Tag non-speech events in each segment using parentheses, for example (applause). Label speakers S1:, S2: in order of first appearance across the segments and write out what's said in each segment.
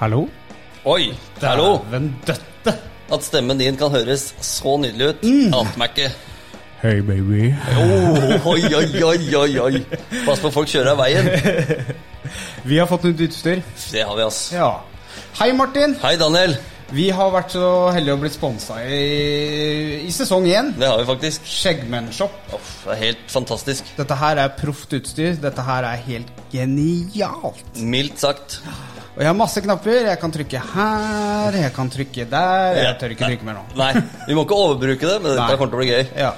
S1: Hallo? Eh,
S2: Oi, hallo!
S1: Dæven døtte!
S2: At stemmen din kan høres så nydelig ut,
S1: Mm.
S2: ante meg ikke.
S1: Hey, baby.
S2: Oh, oi, oi, oi, oi, oi. Pass på folk kjører av veien.
S1: Vi har fått nytt utstyr.
S2: Det har vi, ass.
S1: Ja. Hei, Martin.
S2: Hei, Daniel.
S1: Vi har vært så heldige å bli sponsa i, i sesong én.
S2: Det har vi faktisk.
S1: Skjeggmennshop.
S2: Uff, det er helt fantastisk.
S1: Dette her er proft utstyr. Dette her er helt genialt.
S2: Mildt sagt.
S1: Og jeg har masse knapper. Jeg kan trykke her, jeg kan trykke der. Jeg tør ikke trykke mer nå.
S2: Nei, vi må ikke overbruke det, men
S1: Nei.
S2: dette kommer til å bli gøy.
S1: Ja.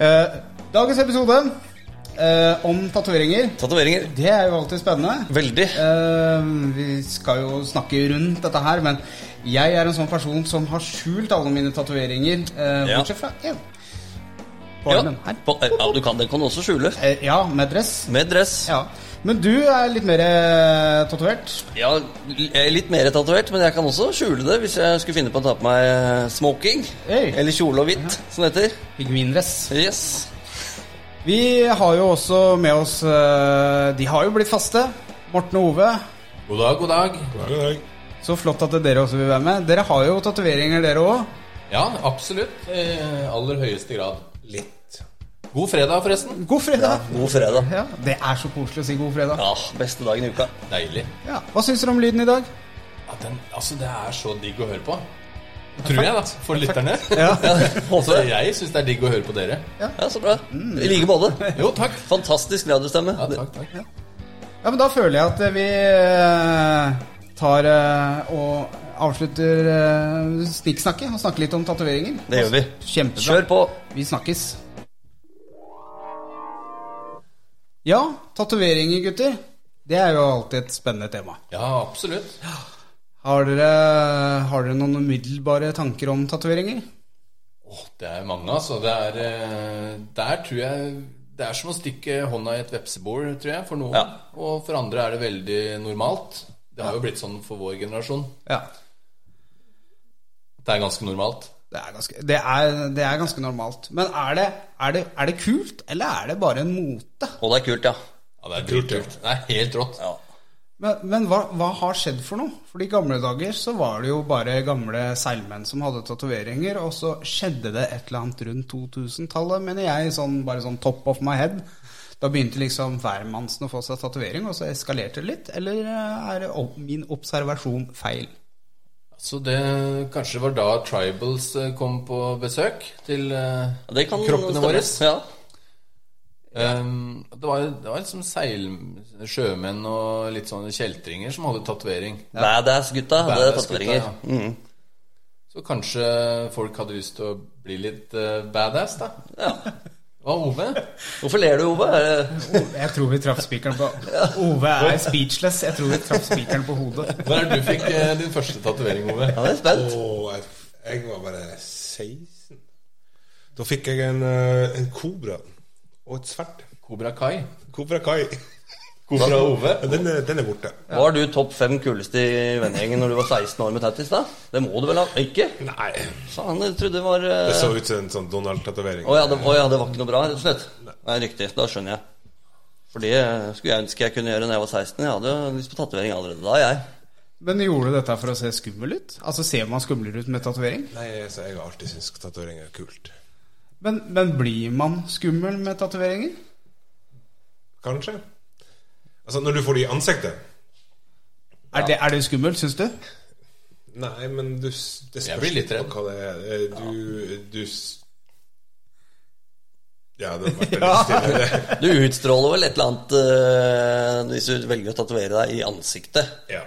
S1: Eh, dagens episode eh, om tatoveringer.
S2: Tatoveringer.
S1: Det er jo alltid spennende.
S2: Veldig.
S1: Eh, vi skal jo snakke rundt dette her, men jeg er en sånn person som har skjult alle mine tatoveringer, eh,
S2: Ja.
S1: bortsett fra én. På
S2: Ja,
S1: armen her.
S2: på, eh, ja, du kan, det kan du også skjule.
S1: Eh, ja, med dress.
S2: Med dress.
S1: Ja. Men du er litt mer eh, tatovert.
S2: Ja, jeg er litt mer tatovert, men jeg kan også skjule det hvis jeg skulle finne på å ta på meg eh, smoking.
S1: Hey.
S2: Eller kjole og hvitt, som det heter.
S1: Pingvindress.
S2: Yes.
S1: Vi har jo også med oss eh, De har jo blitt faste. Morten og Ove.
S3: God dag, god dag.
S1: Så flott at dere også vil være med. Dere har jo tatoveringer, dere òg.
S3: Ja, absolutt. Eh, aller høyeste grad. Litt. God fredag, forresten.
S1: God fredag!
S2: God fredag.
S1: Ja, Det er så koselig å si god fredag.
S2: Ja, beste dagen i uka.
S3: Deilig.
S1: Ja. Hva syns dere om lyden i dag?
S3: Ja, den, altså, det er så digg å høre på. Tror jeg, da. For lytterne.
S1: Ja.
S2: Ja, håper
S3: Så
S2: det.
S3: jeg syns det er digg å høre på dere.
S2: Ja, så bra. I like måte.
S3: Jo, takk.
S2: Fantastisk radiostemme.
S3: Ja, takk, takk.
S1: ja, men da føler jeg at eh, vi eh, tar eh, og avslutter eh, snikksnakket og snakker litt om tatoveringer.
S2: Det gjør vi.
S1: Kjempebra.
S2: Kjør på.
S1: Vi snakkes. Ja, tatoveringer, gutter. Det er jo alltid et spennende tema.
S3: Ja, absolutt.
S1: Har dere, har dere noen umiddelbare tanker om tatoveringer?
S3: Åh, det er mange, altså. Det er eh, Der tror jeg Det er som å stikke hånda i et vepsebol, tror jeg, for noen.
S2: Ja.
S3: Og for andre er det veldig normalt. Det har jo blitt sånn for vår generasjon.
S1: Ja.
S3: Det er ganske normalt.
S1: Det er, ganske, det, er, det er ganske normalt. Men er det, er, det, er det kult, eller er det bare en mote?
S2: Og det er kult, ja.
S3: Ja, det er dritkult. Det er helt rått.
S2: ja.
S1: Men, men hva, hva har skjedd for noe? For i gamle dager så var det jo bare gamle seilmenn som hadde tatoveringer, og så skjedde det et eller annet rundt 2000-tallet, mener jeg, sånn, bare sånn top of my head. Da begynte liksom hvermannsen å få seg tatovering, og så eskalerte det litt. Eller eh, er det opp, min observasjon feil?
S3: Så det kanskje det var da Tribals eh, kom på besøk til eh,
S2: Det kan
S3: kroppene
S2: stemme.
S3: våre.
S2: Ja.
S3: Ehm, det, var, det var liksom seil, sjømenn og litt sånne kjeltringer som hadde tatovering.
S2: Badass-gutta. Det er
S3: Badass gutta,
S2: tatoveringer. Mm,
S3: ja. Så kanskje folk hadde lyst til å bli litt eh, badass, da.
S2: Ja.
S3: Hva, Ove?
S2: Hvorfor ler du, Ove? Er det-
S1: Jeg tror vi traff spikeren på Ove er speechless. Jeg tror vi traff spikeren på hodet.
S3: Når er det du fikk eh, din første tatovering, Ove?
S2: Ja, det er spent.
S4: Og jeg, jeg var bare 16. Da fikk jeg en, eh, en kobra og et sverd.
S3: Kobra Kai.
S4: Kobra Kai.
S3: Kobra Ove.
S4: Ja, Den er, den er borte.
S2: Var du topp fem kuleste i vennegjengen når du var 16 år med tattis? da? Det må du vel ha? Ikke?
S4: Nei.
S2: Faen, jeg trodde det var
S4: Det
S2: eh,
S4: så ut som en sånn Donald-tatovering.
S2: Å ja, det, å ja, det var ikke noe bra, rett og slett? Nei, riktig. Da skjønner jeg. For det eh, skulle jeg ønske jeg kunne gjøre når jeg var 16. Jeg hadde jo lyst på tatovering allerede da, jeg.
S1: Men gjorde du dette for å se skummel ut? Altså Ser man skumlere ut med tatovering?
S4: Nei, så jeg har alltid syntes tatovering er kult.
S1: Men, men blir man skummel med tatoveringer?
S4: Kanskje. Altså, når du får det i ansiktet
S1: Er, det, er det skummelt, syns du?
S4: Nei, men du s- Det
S3: Jeg
S4: spørs
S3: blir litt
S4: på
S3: redd.
S4: hva det er. Eh, Du, du s- Ja, det ble
S3: (laughs)
S4: litt
S1: Ja.
S4: stille. det.
S2: Du utstråler vel et eller annet eh, hvis du velger å tatovere deg i ansiktet.
S4: Ja.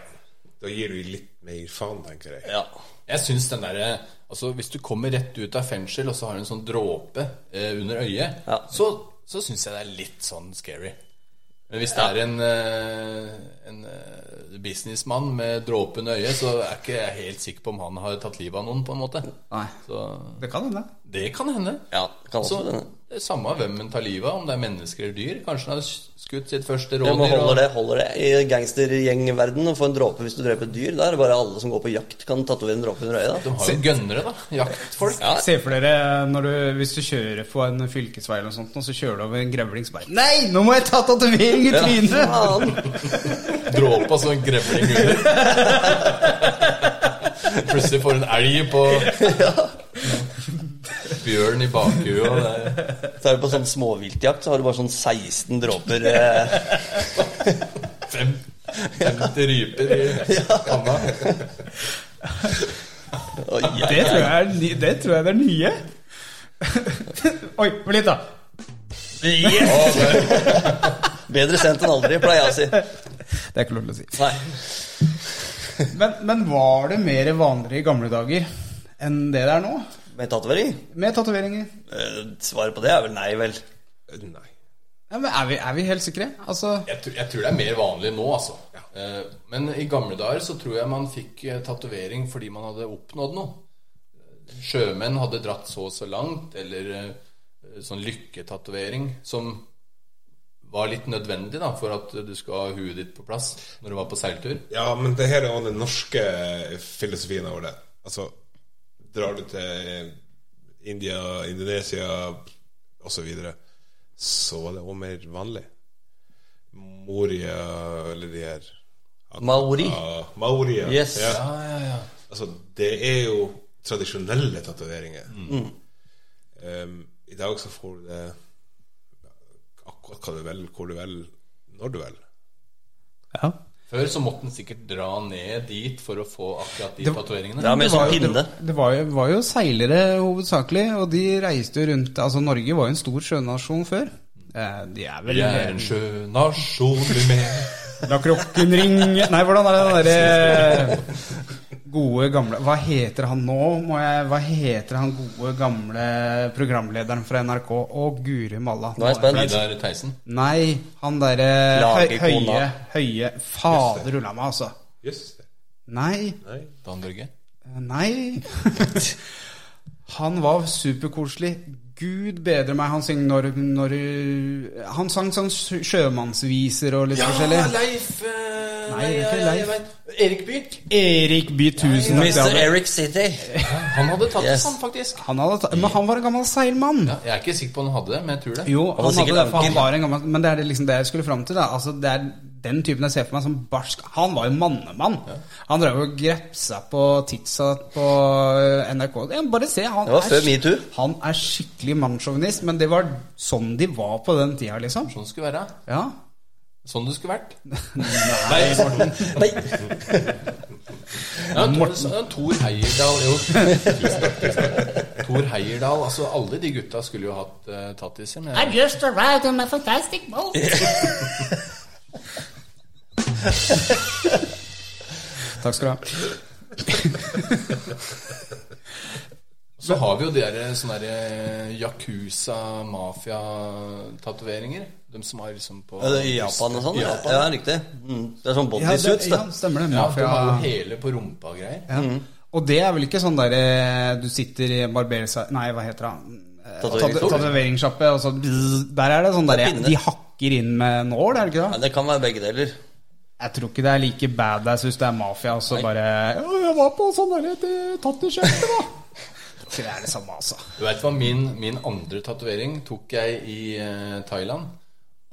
S4: Da gir du litt mer faen, tenker jeg.
S2: Ja.
S3: Jeg syns den derre Altså, hvis du kommer rett ut av fengsel, og så har du en sånn dråpe eh, under øyet,
S2: Ja.
S3: så, så syns jeg det er litt sånn scary. Men hvis det er en, eh, en eh, businessmann med dråpe under øyet, så er ikke jeg helt sikker på om han har tatt livet av noen, på en måte.
S1: Nei.
S3: Så
S1: Det kan hende.
S3: det kan hende.
S2: ja kan også,
S3: Så det er samme hvem en tar livet av, om det er mennesker eller dyr. Kanskje han har skutt sitt første
S2: Ja, men
S3: rådyr.
S2: holder
S3: og-
S2: det, holder det i gangstergjengverden å få en dråpe hvis du dreper et dyr? Da er det bare alle som går på jakt, kan tatovere en dråpe under øyet. da.
S3: De har jo gønnere, da. Jaktfolk.
S2: Ja.
S1: Se for dere når du, hvis du kjører på en fylkesvei, eller noe sånt, og så kjører du over en grevlings bein. Nei, nå må jeg ta tatovering i trynet!
S2: Faen!
S3: dråpa som en sånn grevling under. Plutselig får du en elg på Bjørn i bakhuet. og det er-
S2: Så er du på sånn småviltjakt, så har du bare sånn 16 dråper eh,
S3: Fem, 50 ryper i panna.
S2: oi, oi,
S1: Det
S2: oi.
S1: tror jeg er, ny- det, tror jeg det er nye. (laughs) Oi, vent litt, da.
S2: Yes! Bedre sendt enn aldri, pleier jeg å si.
S1: Det er ikke lov til å si.
S2: Nei.
S1: Men, men var det mer vanlig i gamle dager enn det det er nå?
S2: Med tatovering?
S1: Med tatoveringer?
S2: Eh, Svaret på det er vel nei, vel.
S4: Nei.
S1: Ja, men er vi, er vi helt sikre? Altså
S3: Jeg, tror- jeg tror det er mer vanlig nå, altså. Eh, Men i gamle dager så tror jeg man fikk eh, tatovering fordi man hadde oppnådd noe. Sjømenn hadde dratt så og så langt, eller eh, sånn lykketatovering som var litt nødvendig da, for at du skulle ha huet ditt på plass når du var på seiltur.
S4: Ja, men det her er jo den norske eh, filosofien over det. Altså, drar du til eh, India, Indonesia osv., så, videre, så er det òg mer vanlig. Moria eller de her
S2: Maori.
S4: ja, Mauria.
S2: Yes.
S4: Ja.
S3: Ja,
S1: Ah,
S3: ja, ja.
S4: Altså, det er jo tradisjonelle tatoveringer. Um, I dag så får du det akkurat hva du vil, hvor du vil, når du vil.
S1: ja.
S3: Før så måtte en sikkert dra ned dit for å få akkurat de
S1: Det-
S3: tatoveringene.
S2: Ja, med sånn
S1: jo-
S2: pinne.
S1: Det, det var, jo, var jo seilere hovedsakelig, og de reiste jo rundt Altså, Norge var jo en stor sjønasjon før. Eh, de er vel
S3: Vi er en sjønasjon vi med
S1: La krokken ringe Nei, hvordan er det den derre gode, gamle Hva heter han nå, må jeg Hva heter han gode, gamle programlederen fra NRK? Å, guri malla.
S2: Nå er jeg spent.
S3: Vidar Theisen.
S1: Nei, han derre høy,
S2: Lagekona.
S1: Høye Høye Fader ulla meg, altså.
S4: Jøss.
S1: Nei.
S4: Nei.
S3: Dan Børge.
S1: Eh, Nei. Han var superkoselig. Gud bedre meg, han sang når, når Han sang sånn sjø- sjømannsviser og litt forskjellig.
S3: Leif
S1: Nei, det er ikke Leif.
S3: Erik By.
S1: Erik By tusen takk.
S2: Mr.
S1: David.
S2: Eric City.
S3: Han hadde tatt
S2: Yes.
S3: yes. sånn, faktisk.
S1: Han hadde, ta- men han var en gammel seilmann.
S3: Ja, jeg er ikke sikker på om han hadde det, men jeg tror det.
S1: Jo,
S2: var
S1: han hadde
S2: sikkert
S1: det, for han
S2: anker.
S1: var en gammel Men det er det liksom det jeg skulle fram til. da Altså Det er den typen jeg ser for meg som barsk. Han var jo mannemann. Han drev og grepsa på titsa på eh, NRK. Ja, bare se, han
S2: Det var før MeToo.
S1: Han er skikkelig mannssjåvinist, men det var sånn de var på den tida, liksom.
S3: Sånn det skulle være.
S1: Ja.
S3: Sånn det skulle
S1: (laughs)
S3: vært.
S2: Nei.
S3: Ja, Tor, Tor Heierdal jo. Tusen takk, tusen takk. Tor Heierdal, altså alle de gutta skulle jo hatt uh, tattiser. Men
S5: I just arrived on my fantastic boat.
S1: Takk skal du ha.
S3: så har vi jo de der eh, sånne der Yakuza-mafia-tatoveringer. De som har liksom på
S2: Ja, det er I Japan og sånn? Ja,
S3: Japan.
S2: ja, riktig. Mm. Det er sånn
S1: Ja, det,
S2: bodysuits,
S1: ja,
S2: det.
S1: stemmer det.
S3: Ja, de har jo
S1: Mafia.
S3: hele på rumpa og greier.
S1: Ja. Og det er vel ikke sånn der eh, du sitter i barbersa... Nei, hva heter det? Eh,
S2: Tatoveringssjappe.
S1: tat- Tatoveringssjappe, og så bzz, Der er det sånn der
S2: Og pinne.
S1: De hakker inn med nål, er det ikke
S2: Ja,
S1: det?
S2: det kan være begge deler.
S1: Jeg tror ikke det er like badass hvis det er mafia, og så bare «Å, Jeg var på sånn derre tattiskjøkkenet, da. Jeg tror det er det samme, altså.
S3: Du veit hva, min, min andre tatovering tok jeg i eh, Thailand.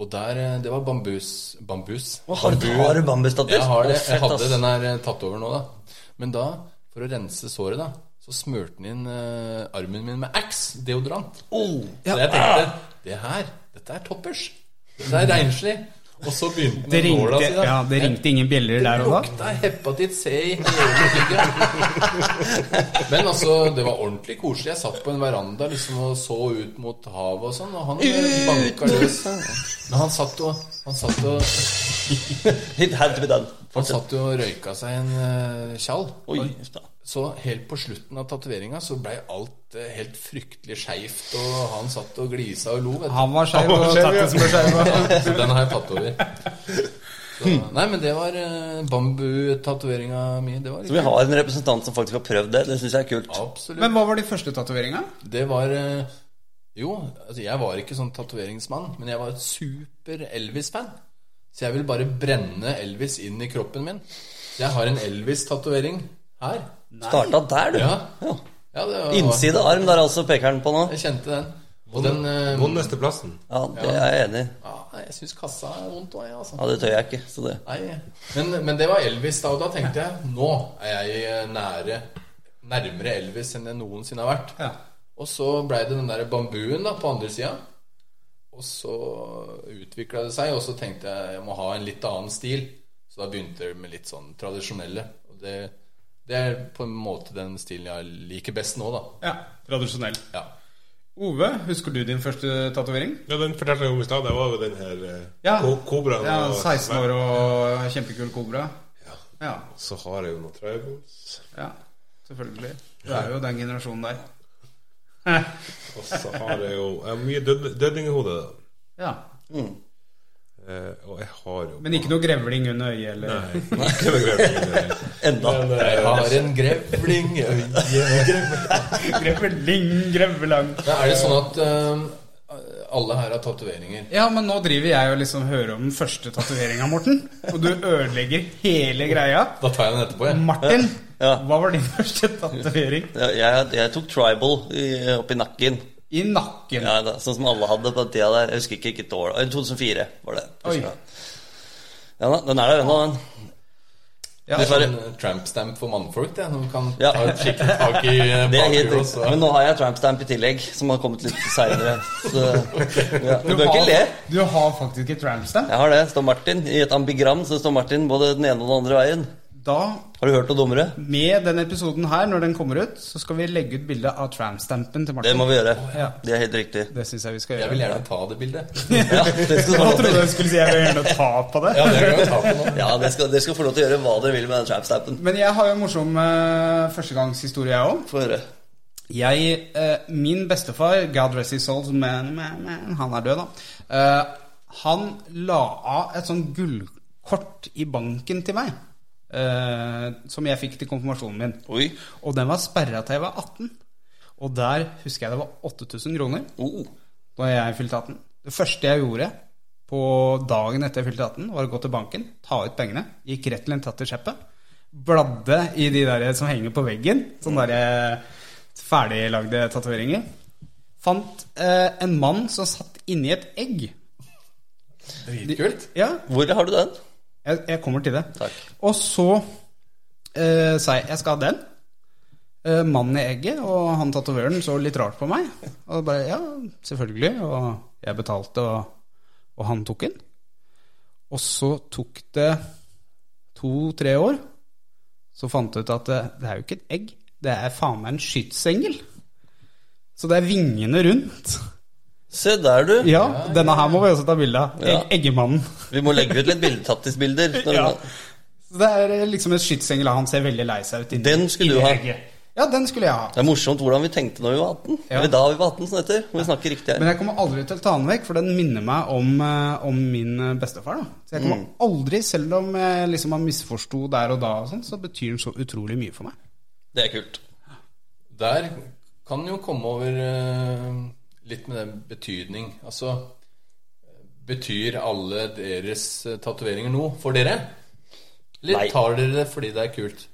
S3: Og der eh, Det var bambus. Bambus.
S2: Å, har du- har du bambustatus?
S3: Jeg har det.
S2: Å, fett,
S3: Jeg hadde
S2: ass.
S3: den her eh, tatt over nå, da. Men da, for å rense såret, da, så smurte den inn eh, armen min med Axe deodorant.
S2: Oh,
S3: Så jeg tenkte det her, dette er toppers. Dette er renslig. Og så begynte
S1: Det
S3: den nåla
S1: ringte,
S3: si, da.
S1: ja, det ringte ingen bjeller der og da.
S3: Lukta hepatitt C i hele ryggen. Men altså, det var ordentlig koselig. Jeg satt på en veranda liksom og så ut mot havet og sånn, og han eh, banka løs. Men han satt og Han satt og,
S2: It had to be done.
S3: han satt og røyka seg en eh, tjall.
S2: Oi,
S3: Og Så helt på slutten av tatoveringa så blei alt eh, helt fryktelig skeivt, og han satt og glisa og lo. Vet du.
S1: Han var skeiv,
S4: Han var
S1: og
S4: skeiv, ja.
S1: Tatten som var skeiv.
S3: Så Den har jeg tatt over. Så, nei, men det var eh, bambu-tatoveringa mi. Det var
S2: Så vi har en representant som faktisk har prøvd det. Det syns jeg er kult.
S3: absolutt
S1: Men hva var de første tatoveringene?
S3: Det var eh, Jo, altså jeg var ikke sånn tatoveringsmann, men jeg var et super Elvis-fan. Så jeg vil bare brenne Elvis inn i kroppen min. Så jeg har en Elvis-tatovering her.
S2: Starta der, du.
S3: Ja. ja det var,
S2: Innside arm der altså peker den på nå.
S3: Jeg kjente den. Og den eh,
S4: Vondeste plassen.
S2: Ja, det er jeg enig i.
S3: ja, Jeg syns kassa er vondt òg, jeg, altså.
S2: Ja, det tør jeg ikke. Så det.
S3: Nei. Men, men det var Elvis da, og da tenkte jeg nå er jeg eh, nære, nærmere Elvis enn jeg noensinne har vært.
S1: Ja.
S3: Og så blei det den der bambuen da, på andre sida. Og så utvikla det seg, og så tenkte jeg jeg må ha en litt annen stil. Så da begynte det med litt sånn tradisjonelle. Og det, det er på en måte den stilen jeg liker best nå, da.
S1: Ja, tradisjonell.
S3: Ja.
S1: Ove, husker du din første tatovering?
S4: Ja, den fortalte jeg om i stad. Det var jo den her eh,
S1: Ja.
S4: ko- kobraen.
S1: Ja,
S4: og-
S1: 16 år og kjempekul kobra. Ja.
S4: Så har jeg jo noen tribals.
S1: ja. Selvfølgelig. Du er jo den generasjonen der.
S4: Og så har jeg jo jeg har mye død, dødninghode, da.
S1: Ja.
S4: Eh, og jeg har jo
S1: Men ikke noe grevling under øyet, eller?
S4: Nei, (laughs) ikke noe greit.
S2: Enda.
S4: Men,
S3: Jeg
S4: eh,
S3: har en grevling i øyet.
S1: (laughs) Grevling, grevelang.
S3: Men Er det sånn at eh, alle her har tatoveringer?
S1: Ja, men nå driver jeg og liksom hører om den første tatoveringa, Morten. Og du ødelegger hele greia.
S3: Da tar jeg den etterpå, jeg.
S1: Martin,
S2: Ja.
S1: hva var din første tatovering?
S2: Ja, Jeg, jeg tok tribal i- oppi nakken.
S1: I nakken.
S2: Ja, da, sånn som alle hadde på den tida der. Jeg husker ikke hvilket år. Eh, 2004 var det.
S1: Oi.
S2: Ja, da, den er der ennå, den.
S1: Ja. sånn
S3: Det er
S2: Dessverre.
S3: en tramp stamp for mannfolk, det. Noen kan
S2: Ja.
S3: ta et skikkelig tak i eh,
S2: Det er helt
S3: bakhuet,
S2: riktig.
S3: så
S2: Men nå har jeg tramp stamp i tillegg, som har kommet litt seinere.
S1: (laughs)
S2: Ja. Du
S1: Du
S2: bør ikke
S1: har,
S2: le.
S1: du har faktisk et tramstamp.
S2: Jeg har det. Det står Martin i et ambigram, så det står Martin både den ene og den andre veien.
S1: Da,
S2: Har du hørt noe dummere?
S1: med den episoden her, når den kommer ut, så skal vi legge ut bilde av tramstampen til
S2: Det
S1: Martin.
S2: må vi gjøre.
S1: Ja.
S2: Det er helt riktig.
S1: (laughs) Det syns jeg vi skal
S3: Jeg
S1: gjøre.
S3: vil gjerne ta det bildet.
S2: Ja, det skal du
S1: Jeg
S2: få lov
S1: trodde
S2: til.
S1: jeg skulle si jeg vil gjerne ta på det.
S3: Ja, det kan jeg ta på nå.
S2: Ja, dere skal, dere skal få lov til å gjøre hva dere vil med den trapstappen.
S1: Men jeg har jo en morsom eh, førstegangshistorie, jeg òg.
S2: Få høre.
S1: Jeg, eh, min bestefar, God rest his soul, men, men, men han er død, da. Eh, han la av et sånn gullkort i banken til meg. eh, som jeg fikk til konfirmasjonen min.
S2: Oi.
S1: Og den var sperra til jeg var 18. Og der husker jeg det var 8000 kroner
S2: Oh.
S1: da jeg fylte 18. Det første jeg gjorde på dagen etter jeg fylte 18, var å gå til banken, ta ut pengene, gikk rett til en tattersjeppe, bladde i de der som henger på veggen, sånne der eh, ferdiglagde tatoveringer. Fant eh, en mann som satt inni et egg.
S3: Dritkult.
S1: Ja,
S2: Hvor har du den?
S1: jeg, jeg kommer til det.
S2: Takk.
S1: Og så eh, sa jeg jeg skal ha den. Eh, mannen i egget og han tatoveren så litt rart på meg. Og bare ja, selvfølgelig. Og jeg betalte, og, og han tok den. Og så tok det to-tre år. Så fant jeg ut at det, det er jo ikke et egg, det er faen meg en skytsengel. Så det er vingene rundt.
S2: Se der, du.
S1: Ja, denne her må vi også ta bilde av.
S2: Ja.
S1: Egg, eggemannen.
S2: Vi må legge ut litt
S1: (laughs)
S2: bildetattisbilder.
S1: Ja. Så det er liksom en skytsengel, og han ser veldig lei seg ut. inni-
S2: Den skulle du ha.
S1: inni egget. Ja, den skulle jeg ha.
S2: Det er morsomt hvordan vi tenkte når vi var 18.
S1: Ja.
S2: Eller da vi var 18, som det heter. Må Vi snakker riktig
S1: Men
S2: her.
S1: jeg kommer aldri til å ta den vekk, for den minner meg om, eh, om min eh, bestefar. Da. Så jeg kommer
S2: Mm.
S1: aldri, selv om jeg liksom har misforsto der og da, og sånn, så betyr den så utrolig mye for meg.
S2: Det er kult.
S3: Der kan jo komme over eh, litt med den betydning. Altså Betyr alle deres eh, tatoveringer noe for dere? Eller
S2: Nei.
S3: tar dere det fordi det er kult?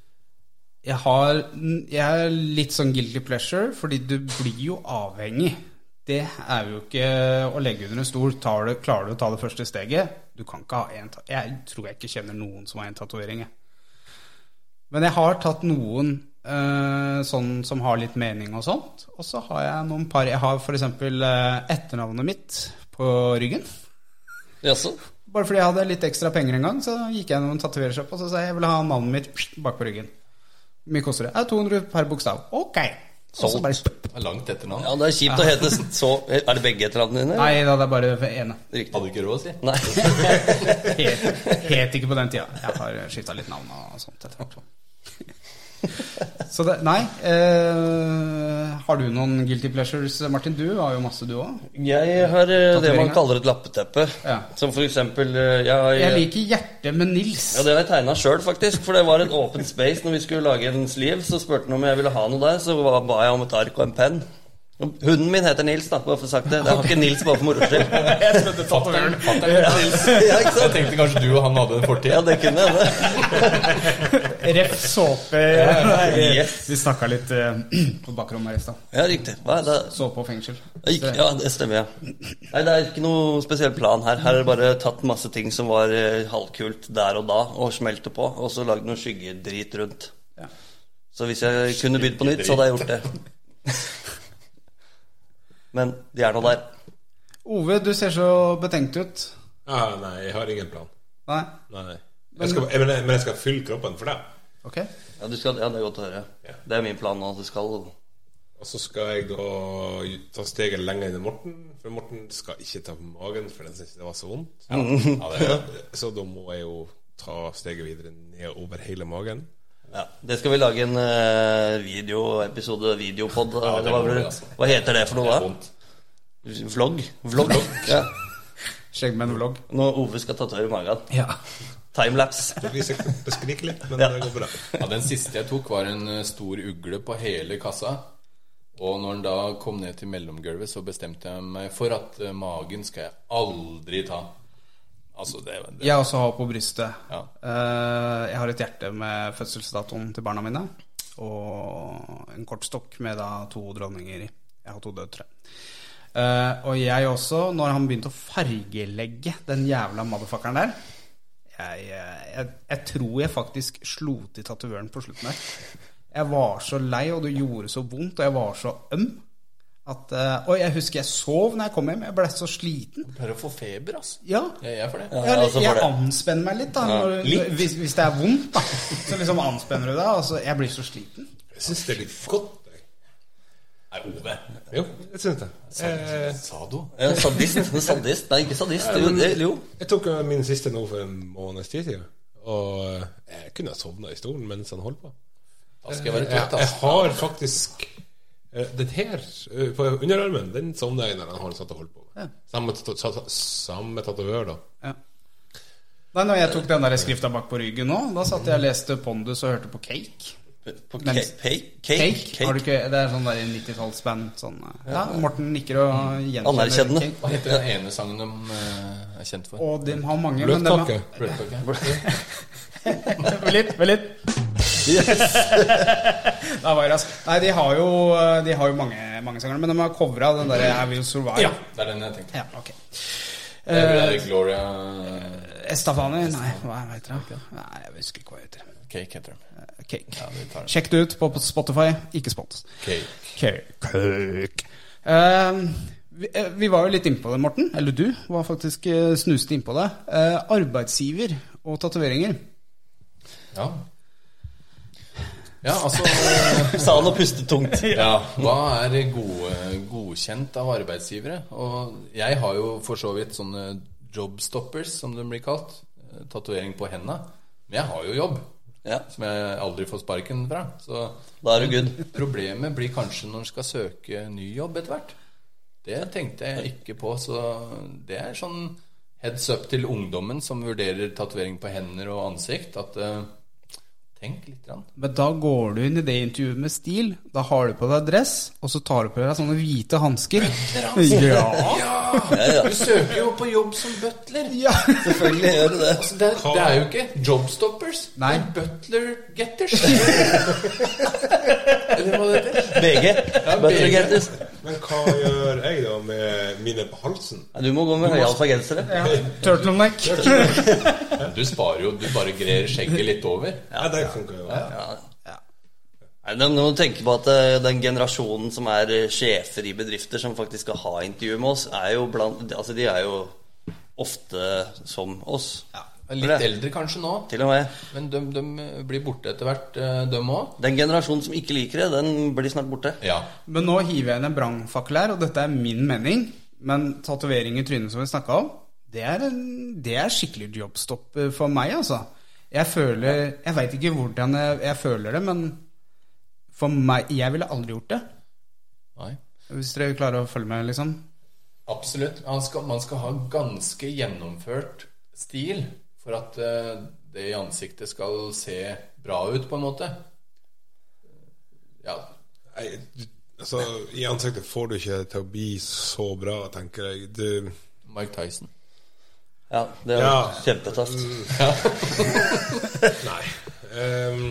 S1: Jeg, har, jeg er litt sånn guilty pleasure, fordi du blir jo avhengig. Det er jo ikke å legge under en stol. Tar du, klarer du å ta det første steget? Du kan ikke ha en ta- Jeg tror jeg ikke kjenner noen som har en tatovering. jeg. Men jeg har tatt noen eh, sånn som har litt mening og sånt. Og så har jeg noen par Jeg har f.eks. Uh, etternavnet mitt på ryggen.
S2: Jaså?
S1: Bare fordi jeg hadde litt ekstra penger en gang, så gikk jeg gjennom en tatoverersjappe og så sa jeg jeg ville ha navnet mitt pst, bak på ryggen. Hvor mye koster det? Ja, 200 per bokstav. Ok. Og så
S2: Solgt.
S1: bare pst.
S3: Det er Langt etternavn.
S2: Ja, det er kjipt å hete så Er det begge etternavnene dine?
S1: Nei da, det er bare for ene.
S2: Riktig.
S3: Hadde ikke råd, si.
S1: (laughs)
S2: Nei.
S1: Het, het ikke på den tida. Jeg har skifta litt navn og sånt etter hvert. Så det Nei. Eh, har du noen guilty pleasures, Martin? Du har jo masse, du òg.
S2: Jeg har eh, det man
S1: Tatoveringer.
S2: kaller et lappeteppe.
S1: Ja.
S2: Som for eksempel eh, jeg, har-
S1: Jeg liker hjertet med Nils.
S2: Ja, det har jeg tegna sjøl, faktisk. For det var et åpen space når vi skulle lage en sleeve. Så spurte han om jeg ville ha noe der, så ba ba jeg om et ark og en penn. Hunden min heter Nils, da. Bare for å ha sagt det. Jeg har ikke Nils bare for moro skyld. (laughs)
S3: Jeg trodde fatter'n het Nils.
S2: Ja, ikke
S3: Jeg
S2: sant?
S3: tenkte kanskje du og han hadde en
S2: Ja,
S3: fortid.
S2: det kunne hende.
S1: (laughs) Ref såpe
S2: Yes.
S1: Vi snakka litt eh, (clears throat) på bakrommet her i stad.
S2: Ja, riktig. Hva er det?
S1: Såpe og fengsel.
S2: Ikke, ja, det stemmer, ja. Nei, det er ikke noe spesiell plan her. Her er det bare tatt masse ting som var eh, halvkult der og da, og smelte på, og så lagd noe skyggedrit rundt.
S1: Ja.
S2: Så hvis jeg kunne bydd på nytt, så hadde jeg gjort det. (laughs) Men de er nå der.
S1: Ove, du ser så betenkt ut.
S4: Ah, nei, jeg har ingen plan.
S1: Nei?
S4: Nei. Jeg skal, jeg, men, jeg, men jeg skal fylle kroppen for deg.
S1: Ok.
S2: Ja, du skal, ja, det er godt å høre.
S4: Ja.
S2: Det er min plan nå. at Du skal
S4: Og så skal jeg da ta steget lenger enn Morten, for Morten skal ikke ta på magen, for den syntes det var så vondt. Så da må jeg jo ta steget videre ned over hele magen.
S2: ja, Det skal vi lage en eh, videoepisode, videopod av.
S3: det
S2: det var
S3: må vi,
S2: vel-
S3: altså.
S2: Hva heter det for noe, da?
S3: Vondt.
S2: Vlogg? Vlogg. Ja.
S1: Skjegg med en vlogg.
S2: Når Ove skal tatovere magen.
S1: Ja.
S2: Timelapse.
S4: (laughs) Det blir sikkert beskrikelig, men
S2: Ja.
S4: det går bra.
S3: Ja, Den siste jeg tok, var en eh, stor ugle på hele kassa. Og når den da kom ned til mellomgulvet, så bestemte jeg meg for at eh, magen skal jeg aldri ta. Altså, det, det
S1: Jeg også har på brystet.
S3: Ja.
S1: Eh, jeg har et hjerte med fødselsdatoen til barna mine. Og en kortstokk med da to dronninger i. Jeg har to døtre. Eh, og jeg også, når han begynte å fargelegge den jævla motherfuckeren der jeg, eh, jeg, jeg tror jeg faktisk slo til tatovøren på slutten der. Jeg var så lei, og det gjorde så vondt, og jeg var så øm. At, eh, og jeg husker jeg sov når jeg kom hjem. Jeg ble så sliten.
S3: pleier å få feber, altså.
S1: Ja,
S3: Jeg er for det.
S2: Ja,
S1: ja,
S2: altså,
S1: jeg,
S2: for det.
S1: anspenner meg litt, da. Når,
S2: litt.
S1: Hvis, hvis det er vondt, da. Så liksom anspenner du deg. og så- jeg blir så sliten.
S4: Jeg syns det er litt godt. Jeg.
S3: Nei, Ove.
S4: Jo, jeg syns det. Eh, Jeg,
S3: Sado.
S2: Ja, sadist. sadist. Nei, ikke sadist. Jo, det, jo.
S4: jeg tok jo min siste nå for en måneds tid siden, og eh, jeg kunne ha sovna i stolen mens han holdt på.
S3: Da skal jeg være
S4: Jeg,
S3: trøtt,
S4: jeg
S3: altså.
S4: har faktisk eh, Den her eh, på underarmen, den sovna jeg når han holdt- satt og holdt på. med. Samme, tato- sa- sa- samme tatovør, da.
S1: Ja. Nei, når jeg tok den der skrifta bak på ryggen nå, da satt jeg og leste Pondus og hørte på Cake.
S2: På
S1: Men-
S2: cake, cake, cake,
S1: Cake? Har du ikke, det er sånn der 90-tallsband. Sånn, eh, ja, Morten nikker og gjenkjenner
S2: Anerkjennende.
S1: Cake.
S3: Hva heter den ene sangen de eh, er kjent for?
S1: Og de har mange, men de
S4: Bløtkake.
S1: har
S3: Bløtkake.
S1: (laughs) Vent litt, vent litt.
S2: Yes.
S1: (laughs) Da var jeg rask. Nei, de har jo, eh, de har jo mange, mange sanger, men de har covra den derre I Will Survive.
S3: Ja, det er den jeg tenkte.
S1: Ja, ok.
S3: Det er Gloria eh,
S1: Estafani? Nei, hva heter det? Nei, jeg husker ikke hva det heter.
S3: Cake heter den.
S1: Cake.
S3: Ja, vi tar den.
S1: Sjekk det ut på Spotify. Ikke spons.
S3: Cake.
S1: Cake. Ehm, vi, eh, vi var jo litt innpå det, Morten. Eller du var faktisk eh, snuste innpå det. Eh, arbeidsgiver og tatoveringer.
S3: Ja. Ja, altså
S2: Sa han og pustet (laughs) tungt.
S3: Ja, hva er gode, godkjent av arbeidsgivere? Og jeg har jo for så vidt sånne jobstoppers, som de blir kalt. eh, Tatovering på henda. Men jeg har jo jobb,
S2: Ja,
S3: som jeg aldri får sparken fra. Så
S2: da er du good.
S3: problemet blir kanskje når en skal søke ny jobb etter hvert. Det tenkte jeg ikke på, så det er sånn heads up til ungdommen som vurderer tatovering på hender og ansikt, at eh, tenk litt. Grann.
S1: Men da går du inn i det intervjuet med stil. Da har du på deg dress, og så tar du på deg sånne hvite hansker. Ja.
S2: Ja, ja.
S3: Du søker jo på jobb som butler.
S1: ja!
S2: (laughs) Selvfølgelig gjør du det.
S3: Altså, det, er, det er jo ikke jobstoppers.
S1: Nei.
S3: Det er butler getters. (laughs) Eller hva det heter.
S2: VG. Butler
S3: VG.
S2: Gettys.
S4: Men hva gjør jeg da med mine på halsen?
S2: Nei, Du må gå med høyhalsa gensere.
S1: ja. Turtleneck.
S3: Du sparer jo, du bare grer skjegget litt over.
S4: Ja, det funker jo.
S2: Nei, men Nå må du tenke på at eh, den generasjonen som er eh, sjefer i bedrifter som faktisk skal ha intervju med oss, er jo blant Altså, de er jo ofte som oss.
S3: Litt eldre kanskje nå,
S2: Til og med.
S3: men de, de blir borte etter hvert, eh, de òg.
S2: Den generasjonen som ikke liker det, den blir snart borte.
S3: Ja.
S1: Men nå hiver jeg inn en brannfakkel her, og dette er min mening. Men tatovering i trynet som vi snakka om, det er, en, det er skikkelig jobbstopp eh, for meg, altså. Jeg føler Jeg veit ikke hvordan jeg, jeg føler det, men for meg Jeg ville aldri gjort det.
S3: Nei.
S1: Hvis dere klarer å følge med, liksom.
S3: Absolutt. Man skal, man skal ha ganske gjennomført stil for at eh, det i ansiktet skal se bra ut, på en måte. Ja.
S4: Jeg, Altså, I ansiktet får du ikke til å bli så bra, tenker jeg. Du,
S3: Mike Tyson.
S2: Ja, det er jo
S4: Ja.
S2: kjempetøft.
S4: Nei. Ehm,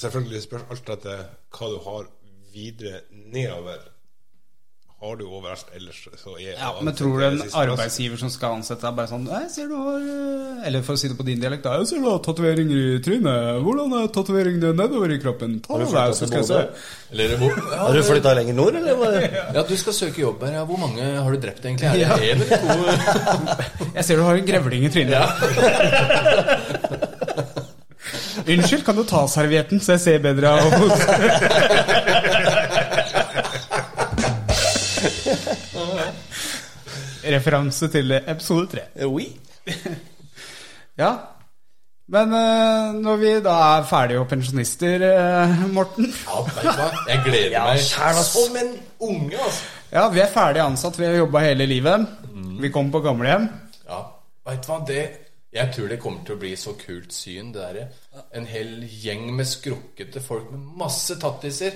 S4: selvfølgelig spørs alt etter hva du har videre nedover. Har du overalt ellers, så er
S1: Ja,
S4: ansiktet
S1: men tror du en
S4: siste plass.
S1: arbeidsgiver som skal ansette deg, bare sånn Nei, ser du har eh», Eller for å si det på din dialekt, da. «Jeg Ser du har tatoveringer i trynet? Hvordan er tatoveringene nedover i kroppen? Ta det der, så skal jeg se.
S3: Eller hvor ja,
S2: Har du flytta lenger nord, eller? hva?
S3: ja, du skal søke jobb her. Ja. Hvor mange har du drept, egentlig? Er det
S2: (laughs)
S3: en eller to?
S1: Jeg ser du har en grevling i trynet. (laughs) Unnskyld, kan du ta servietten, så jeg ser bedre av (laughs) Referanse til episode tre.
S2: Oui.
S1: Ja. Men eh, når vi da er ferdige og pensjonister, eh, Morten
S3: Ja, vet du hva? Jeg gleder
S2: Ja,
S3: meg
S2: kjære, ass.
S3: som en unge, altså.
S1: Ja, vi er ferdig ansatt, vi har jobba hele livet. Vi kommer på gamlehjem.
S3: Ja, vet du hva, det Jeg tror det kommer til å bli så kult syn, det derre. En hel gjeng med skrukkete folk med masse tattiser.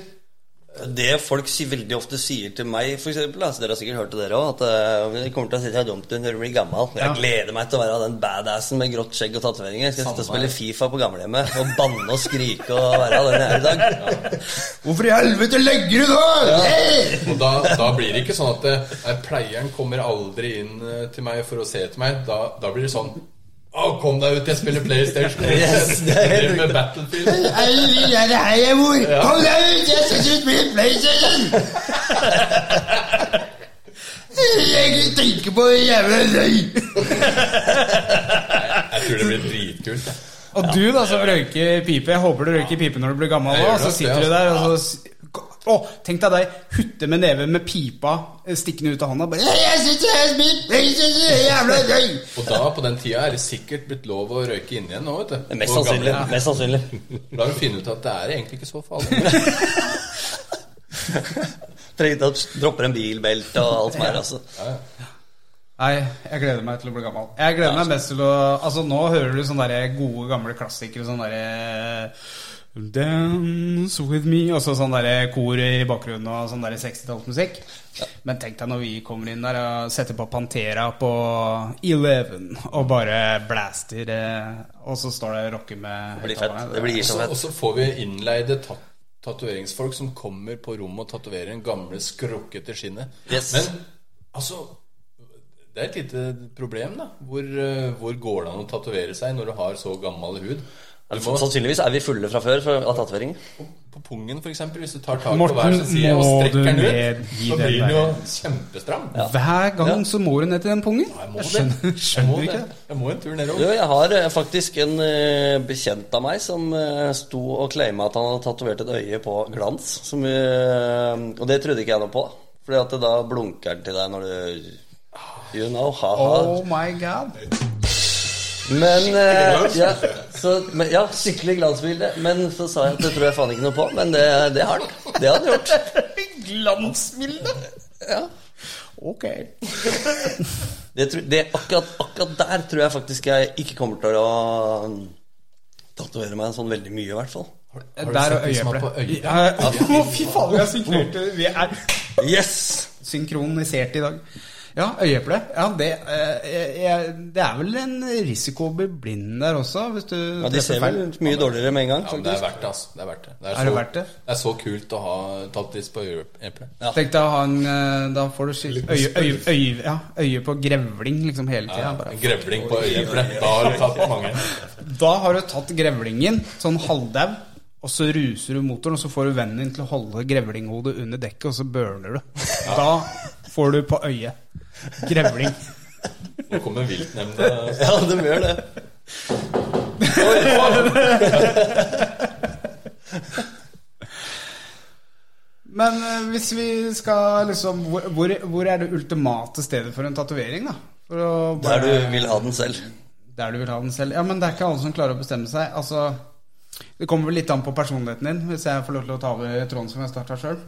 S2: Det folk sier, veldig ofte sier til meg, for eksempel, altså, dere har sikkert hørt det dere òg, at eh, jeg kommer til å sitte her dumt når jeg blir gammel. Jeg gleder meg til å være den badassen med grått skjegg og tatoveringer. Jeg Skal sitte og
S3: Samme her.
S2: spille Fifa på gamlehjemmet og banne og skrike og være den jeg
S3: (laughs)
S2: er i dag.
S1: Hvorfor i helvete legger du det?!
S3: Og da, da blir det ikke sånn at eh, nei, pleieren kommer aldri inn eh, til meg for å se etter meg. Da, da blir det sånn Å, kom deg ut, jeg spiller PlayStation.
S2: Yes, det er
S3: jeg
S2: helt
S3: driver med Battlefield.
S1: Kom deg ut! Jeg skal ikke spille (laughs) PlayStation! Jeg tenker på jævla løy!
S3: Jeg tror det blir dritkult. jeg.
S1: Og du da, som røyker pipe. Jeg håper du røyker pipe når du blir gammel
S3: Jeg
S1: òg.
S3: gjør
S1: Så
S3: nok
S1: sitter
S3: det,
S1: du der og så s- Å, tenk deg deg hutte med neven med pipa eh, stikkende ut av hånda. Bare, jeg sitter her og spiller PlayStation! Jævla løy!
S3: Og da, på den tida, er det sikkert blitt lov å røyke inne igjen nå, vet du.
S2: Men Mest
S3: Og
S2: sannsynlig.
S3: gamle-
S2: Mest sannsynlig.
S3: Da har du funnet ut at det er egentlig ikke så
S2: (laughs)
S3: farlig.
S2: Trenger ikke å droppe en bilbelte og alt som er, altså.
S1: Nei, jeg gleder meg til å bli gammel. Jeg gleder meg mest til å Altså, nå hører du sånne der gode, gamle klassikere. Sånn derre Dance with me Og så sånn derre kor i bakgrunnen og sånn derre 60-tallsmusikk. Men tenk deg når vi kommer inn der og setter på Pantera på Eleven og bare blaster, eh, og så står det og rocker med
S2: Det blir fett. Det blir så
S3: Så- Og
S2: fett.
S3: så får vi innleide tat tatoveringsfolk som kommer på rommet og tatoverer en gamle, skrukkete skinnet.
S2: Yes.
S3: Men altså Det er et lite problem, da. Hvor, eh, hvor går det an å tatovere seg når du har så gammel hud? Du må,
S2: Sannsynligvis er vi fulle fra før for- av tatoveringer.
S3: på pungen, for eksempel Hvis du tar tak på
S1: Morten,
S3: hver sin side og
S1: må
S3: strekker
S1: du
S3: den ut,
S1: nedgi
S3: så
S1: den
S3: blir den jo
S1: der.
S3: kjempestram.
S1: Hver gang så må du ned til den pungen.
S3: Jeg må det.
S1: skjønner,
S3: Jeg må
S1: skjønner du
S3: det.
S1: ikke det?
S3: Jeg må en tur
S2: Du,
S3: nedover.
S2: jeg har eh, faktisk en eh, bekjent av meg som eh, sto og claima at han hadde tatovert et øye på glans. Som, eh, og det trodde ikke jeg noe på. Fordi at da blunker den til deg når du You know, ha-ha.
S1: Oh my god.
S2: Men, eh, ja, så, men Ja, skikkelig glansbilde. Men så sa jeg at det tror jeg faen ikke noe på. Men det, det har den. Det har den gjort.
S1: Glansbilde.
S2: Ja.
S1: Ok.
S2: Det, tror- det, akkurat, akkurat der tror jeg faktisk jeg ikke kommer til å tatovere meg sånn veldig mye, i hvert fall.
S3: Har du
S1: Der
S3: sett
S1: og
S3: de som er på
S1: øyeeple.
S3: øye?
S1: Ja, ja. Å, Fy faen, vi er synkronerte. Vi er
S2: Yes!
S1: synkroniserte i dag. Ja, øyeeple. Ja, det, eh, jeg- det er vel en risiko å bli blind der også, hvis du
S2: Ja, de ser vel mye dårligere med en gang.
S3: Ja, men det er verdt det, altså. Det er verdt det. Det er,
S1: Er det verdt det?
S3: det er så kult å ha tattis på øyeeplet.
S2: Ja.
S1: Tenk deg å ha en eh, Da får du skil- øye, øye, øye, ja, øye på grevling liksom hele tida.
S3: En grevling på øyeeplet. Da har du tatt mange.
S1: Da har du tatt grevlingen, sånn halvdau, og så ruser du motoren, og så får du vennen din til å holde grevlinghodet under dekket, og så burner du. Da får du på øyet. Grevling.
S3: Nå kommer viltnemnda.
S2: Ja, de gjør det.
S1: Men eh, hvis vi skal liksom Hvor, hvor, hvor er det ultimate stedet for en tatovering, da? For å
S2: Der
S1: bare-
S2: du vil ha den selv.
S1: der du vil ha den selv. Ja, men det er ikke alle som klarer å bestemme seg. Altså, det kommer vel litt an på personligheten din, hvis jeg får lov til å ta over tråden som jeg starta sjøl.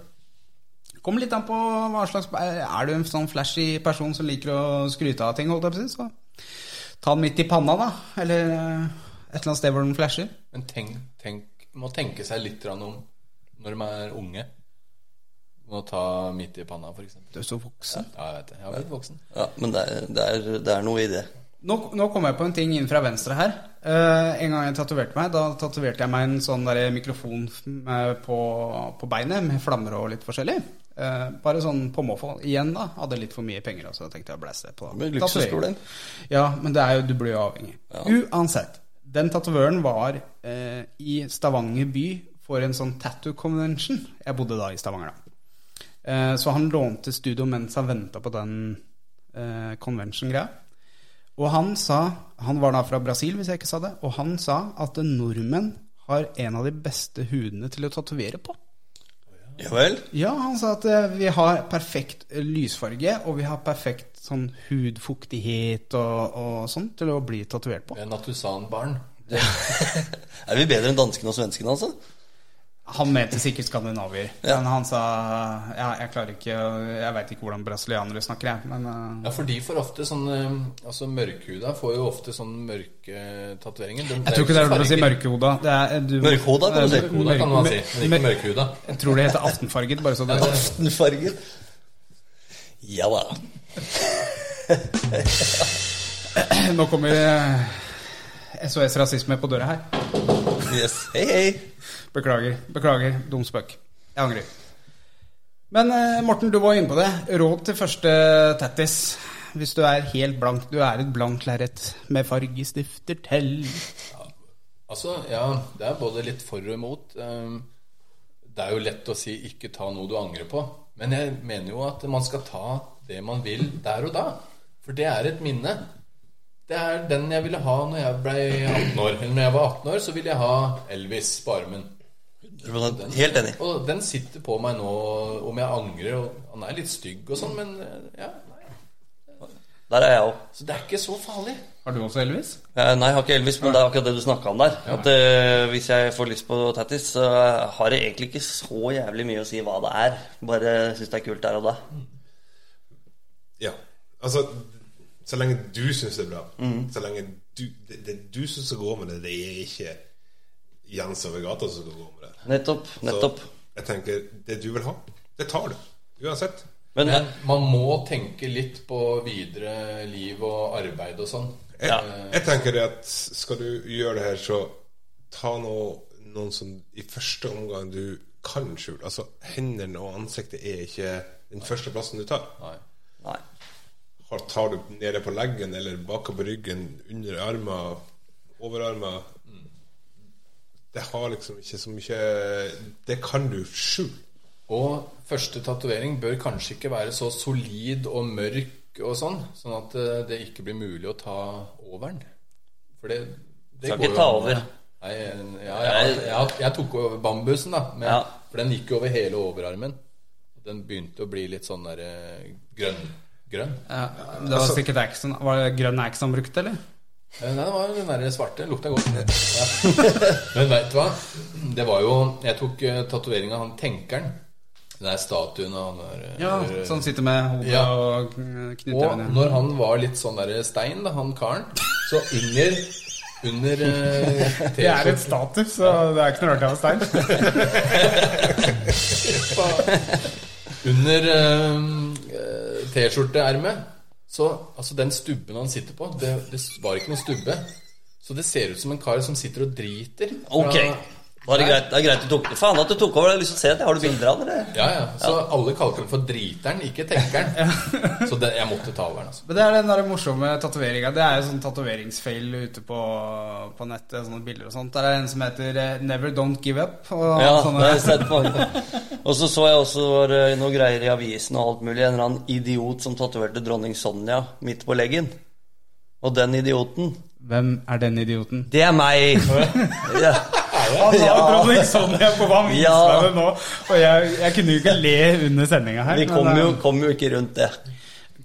S1: Kommer litt an på hva slags Er du en sånn flashy person som liker å skryte av ting, holdt jeg på å si, så ta den midt i panna, da. Eller eh, et eller annet sted hvor den flasher.
S3: Men tenk, tenk, må tenke seg litt grann om når man er unge. Må ta midt i panna, f.eks.
S1: Du er så voksen.
S3: Ja, jeg vet det. Jeg har blitt voksen.
S2: Ja, men det er, det, er, det er noe i det.
S1: Nå, nå kom jeg på en ting inn fra venstre her. Eh, en gang jeg tatoverte meg, da tatoverte jeg meg en sånn der mikrofon med, på, på beinet med flammer og litt forskjellig. Eh, bare sånn på måfå. Igjen, da. Hadde litt for mye penger, så jeg tenkte jeg blæs det på
S2: Men luksusproblem.
S1: Ja, men det er jo, du blir jo avhengig. Uansett. Den tatovøren var eh, i Stavanger by for en sånn tattoo convention. Jeg bodde da i Stavanger, da. Eh, Så han lånte studio mens han venta på den eh, convention-greia. Og han sa Han var da fra Brasil, hvis jeg ikke sa det. Og han sa at nordmenn har en av de beste hudene til å tatovere på.
S2: Ja vel?
S1: Ja, han sa at eh, vi har perfekt eh, lysfarge, og vi har perfekt sånn hudfuktighet og, og sånn til å bli tatovert på.
S3: Jeg er Natusan-barn.
S2: (laughs) er vi bedre enn danskene og svenskene, altså?
S1: Han mente sikkert skandinavier,
S2: Ja.
S1: men han sa ja, jeg klarer ikke å- Jeg veit ikke hvordan brasilianere snakker, jeg, men eh,
S3: Ja, for de får ofte sånn eh, Altså mørkhuda får jo ofte sånn mørke tatoveringer. De-
S1: Jeg tror ikke det er lov å si mørkehoda. Det er, eh, du,
S2: Mørkhoda, kan du si.
S3: Mørkhoda kan man si, men ikke
S1: mørk-
S3: mørkhuda.
S1: Jeg tror det heter aftenfarget, bare så det
S2: Aftenfargen. Ja da.
S1: Nå kommer eh, SOS Rasisme på døra her.
S2: Yes. Hei, hei.
S1: Beklager. Beklager. Dum spøk. Jeg angrer. Men eh, Morten, du var inne på det. Råd til første tattis. Hvis du er helt blank. Du er et blankt lerret med fargestifter til.
S3: Altså, ja, det er både litt for og imot. Ehm, Det er jo lett å si 'ikke ta noe du angrer på', men jeg mener jo at man skal ta det man vil der og da. For det er et minne. Det er den jeg ville ha når jeg ble 18 år. Eller når jeg var 18 år, så ville jeg ha Elvis på armen.
S2: Helt enig.
S3: Og den sitter på meg nå, om jeg angrer. Og han er litt stygg og sånn, men ja. nei.
S2: Der er jeg òg.
S3: Så det er ikke så farlig.
S1: Har du også Elvis?
S2: Eh, Nei, jeg har ikke Elvis, men det er akkurat det du snakka om der. At eh, Hvis jeg får lyst på tattis, så har det egentlig ikke så jævlig mye å si hva det er. Bare syns det er kult der og da.
S4: Ja. Altså, så lenge du syns det er bra.
S1: Mm.
S4: Så lenge du Det, det er du som skal gå med det, det er ikke Jens over gata som skal gå med det.
S2: Nettopp. nettopp.
S4: Så jeg tenker det du vil ha, det tar du. Uansett.
S2: Men
S3: Men man må tenke litt på videre liv og arbeid og sånn.
S4: Jeg, jeg tenker det at skal du gjøre det her, så ta nå noen som i første omgang du kan skjule. Altså, hendene og ansiktet er ikke den første plassen du tar.
S3: Nei.
S2: nei.
S4: Har- Tar du nede på leggen eller baka på ryggen, under armer, over armer Det har liksom ikke så mye Det kan du skjule.
S3: Og første tatovering bør kanskje ikke være så solid og mørk og sånn, sånn at eh, det ikke blir mulig å ta overen. For det, det
S2: Skal
S3: går
S2: ikke
S3: jo
S2: ta
S3: an.
S2: over.
S3: Nei, ja, jeg, jeg, jeg, jeg tok over bambusen, da. Men,
S2: Ja.
S3: For den gikk jo over hele overarmen. Den begynte å bli litt sånn der eh, grønn. Grønn?
S1: Ja, det var sikkert Axon. Var det grønn Axon han brukte, eller?
S3: Eh, Nei, det var den der svarte. Lukta
S2: (laughs)
S3: godt. Ja. Men veit du hva? Det var jo Jeg tok uh, tatovering av han tenkeren. Den der statuen av han der eh,
S1: Ja,
S3: der, eh,
S1: Så han sitter med hodet
S3: Ja.
S1: og knytter
S3: Og
S1: øynene.
S3: når han var litt sånn der stein, da, han karen, så under under eh,
S1: (laughs) Det er
S3: T-skjorten
S1: et status, så det er ikke noe rart jeg har stein.
S3: (laughs) Under eh, eh, T-skjorteermet Så altså den stubben han sitter på det, det var ikke noen stubbe Så det ser ut som en kar som sitter og driter fra-
S2: Ok. Da er det greit, det er greit du tok Faen at du tok over. Jeg har lyst til å se det. Har du bilder av det? eller?
S3: Ja, ja, så alle kaller den for driteren, ikke
S1: (laughs)
S3: tenkeren Så det, jeg måtte ta over den altså
S1: Men det er den der morsomme tatoveringa. Det er jo sånn tatoveringsfeil ute på, på nettet. Sånne bilder og sånt. Der er en som heter eh, 'Never Don't Give Up'. Og
S2: Ja, det
S1: sånne,
S2: har jeg sett på. Og så så jeg også det var eh, noe greier i avisen og alt mulig. En eller annen idiot som tatoverte dronning Sonja midt på leggen. Og den idioten,
S1: Hvem er den idioten?
S2: det er meg! Ja.
S1: Han har
S2: Ja.
S1: dronning Sonja på hva han viser
S2: Ja.
S1: meg det nå. Og jeg, jeg kunne jo ikke le under sendinga her.
S2: Vi
S1: men,
S2: kom jo,
S1: eh,
S2: kom jo ikke rundt det.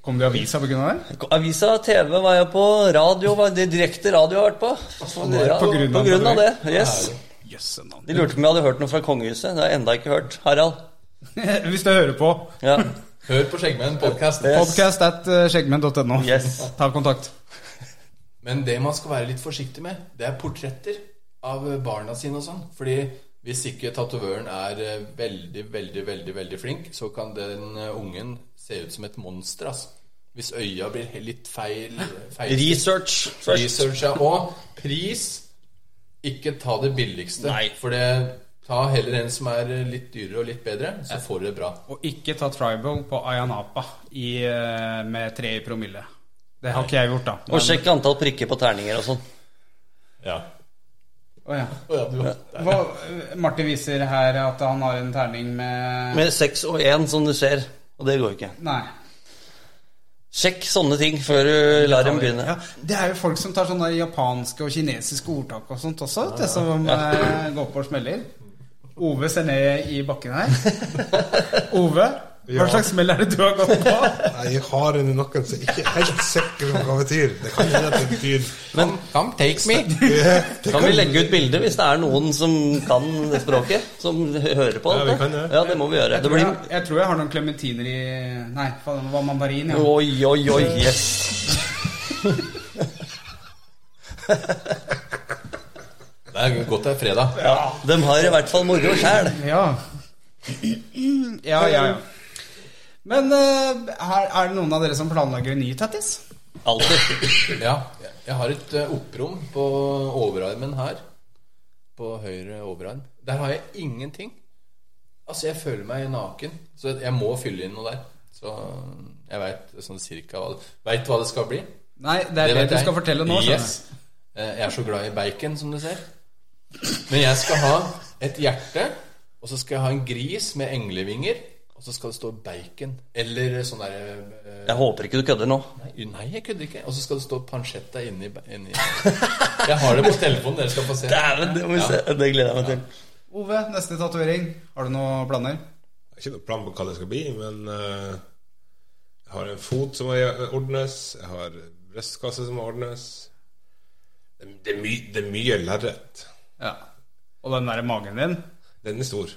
S1: Kom det i avisa pga. det?
S2: Avisa, TV var jeg på, radio var det direkte radio har jeg vært på. Ja,
S1: på grunn av
S2: på grunn av det.
S1: det.
S2: Yes.
S1: Jøsse navn.
S2: De lurte på om jeg hadde hørt noe fra kongehuset. Det har jeg enda ikke hørt. Harald.
S1: (laughs) Hvis du hører på,
S2: Ja.
S3: Hør på Skjeggmenn podcast
S2: Yes.
S1: podcast at eh, skjeggmenn.no.
S2: Yes.
S1: Ta kontakt.
S3: Men det man skal være litt forsiktig med, det er portretter av barna sine og sånn. Fordi Hvis ikke tatovøren er eh, veldig, veldig, veldig veldig flink, så kan den eh, ungen se ut som et monster. Altså. Hvis øya blir he- litt feil, feil
S2: Research først.
S3: Researcha. Og pris Ikke ta det billigste.
S2: Nei.
S3: For det, ta heller en som er eh, litt dyrere og litt bedre, så får du det bra.
S1: Og ikke ta tribal på Ayanapa i, eh, med tre i promille. Det har ikke jeg gjort, da.
S2: Og sjekk antall prikker på terninger og sånn.
S3: Ja.
S1: Å, ja.
S3: ja, du,
S1: Hva, Martin viser her at han har en terning med
S2: Med seks og én, som du ser. Og det går ikke.
S1: Nei.
S2: Sjekk sånne ting før du lar dem begynne.
S1: Ja, det er jo folk som tar sånne japanske og kinesiske ordtak og sånt også. Det som eh, går på og smeller. Ove ser ned i bakken her. Ove,
S4: Ja.
S1: hva slags smell er det du har gått på?
S4: Jeg har en i nakken som ikke er helt sikker på hva det betyr. Det kan hende at det betyr
S2: Men
S3: Come take me!
S4: Det
S2: kan vi legge ut bilde hvis det er noen som kan språket? Som hører på
S4: Ja, vi
S2: dette?
S4: kan det.
S2: Ja, det må vi gjøre.
S1: Jeg
S2: Det
S1: tror jeg,
S2: blir
S1: jeg tror jeg har noen klementiner i Nei, faen, det var mandarin. Ja.
S2: Oi, oi, oi. Yes.
S3: Det er godt det er fredag.
S2: Ja, de har i hvert fall moro sjæl.
S1: Ja. ja, ja, ja. Men eh, her, er det noen av dere som planlegger en ny tattis?
S2: Alltid.
S3: Ja, jeg har et eh, opprom på overarmen her. På høyre overarm. Der har jeg ingenting. Altså, jeg føler meg naken, så jeg må fylle inn noe der. Så jeg veit sånn cirka hva det Veit hva det skal bli.
S1: Nei, det er det,
S3: vet
S1: du
S3: jeg.
S1: skal fortelle nå. skjønner
S3: Yes. Eh, Jeg er så glad i bacon, som du ser. Men jeg skal ha et hjerte, og så skal jeg ha en gris med englevinger, og så skal det stå bacon. Eller sånn derre
S2: Jeg håper ikke du kødder nå.
S3: Nei, nei, jeg kødder ikke. Og så skal det stå pansjetta inni, inni (laughs) Jeg har det på telefonen, dere skal få se.
S2: Dæven, det må vi se. Det gleder jeg meg til.
S1: jeg. Ove, neste tatovering. Har du noen planer?
S4: Jeg har ikke noen plan på hva det skal bli, men eh, jeg har en fot som må gjø- ordnes. Jeg har brystkasse som må ordnes. Det, det, er, my, det er mye lerret.
S1: Ja. Og den derre magen din?
S4: Den er stor.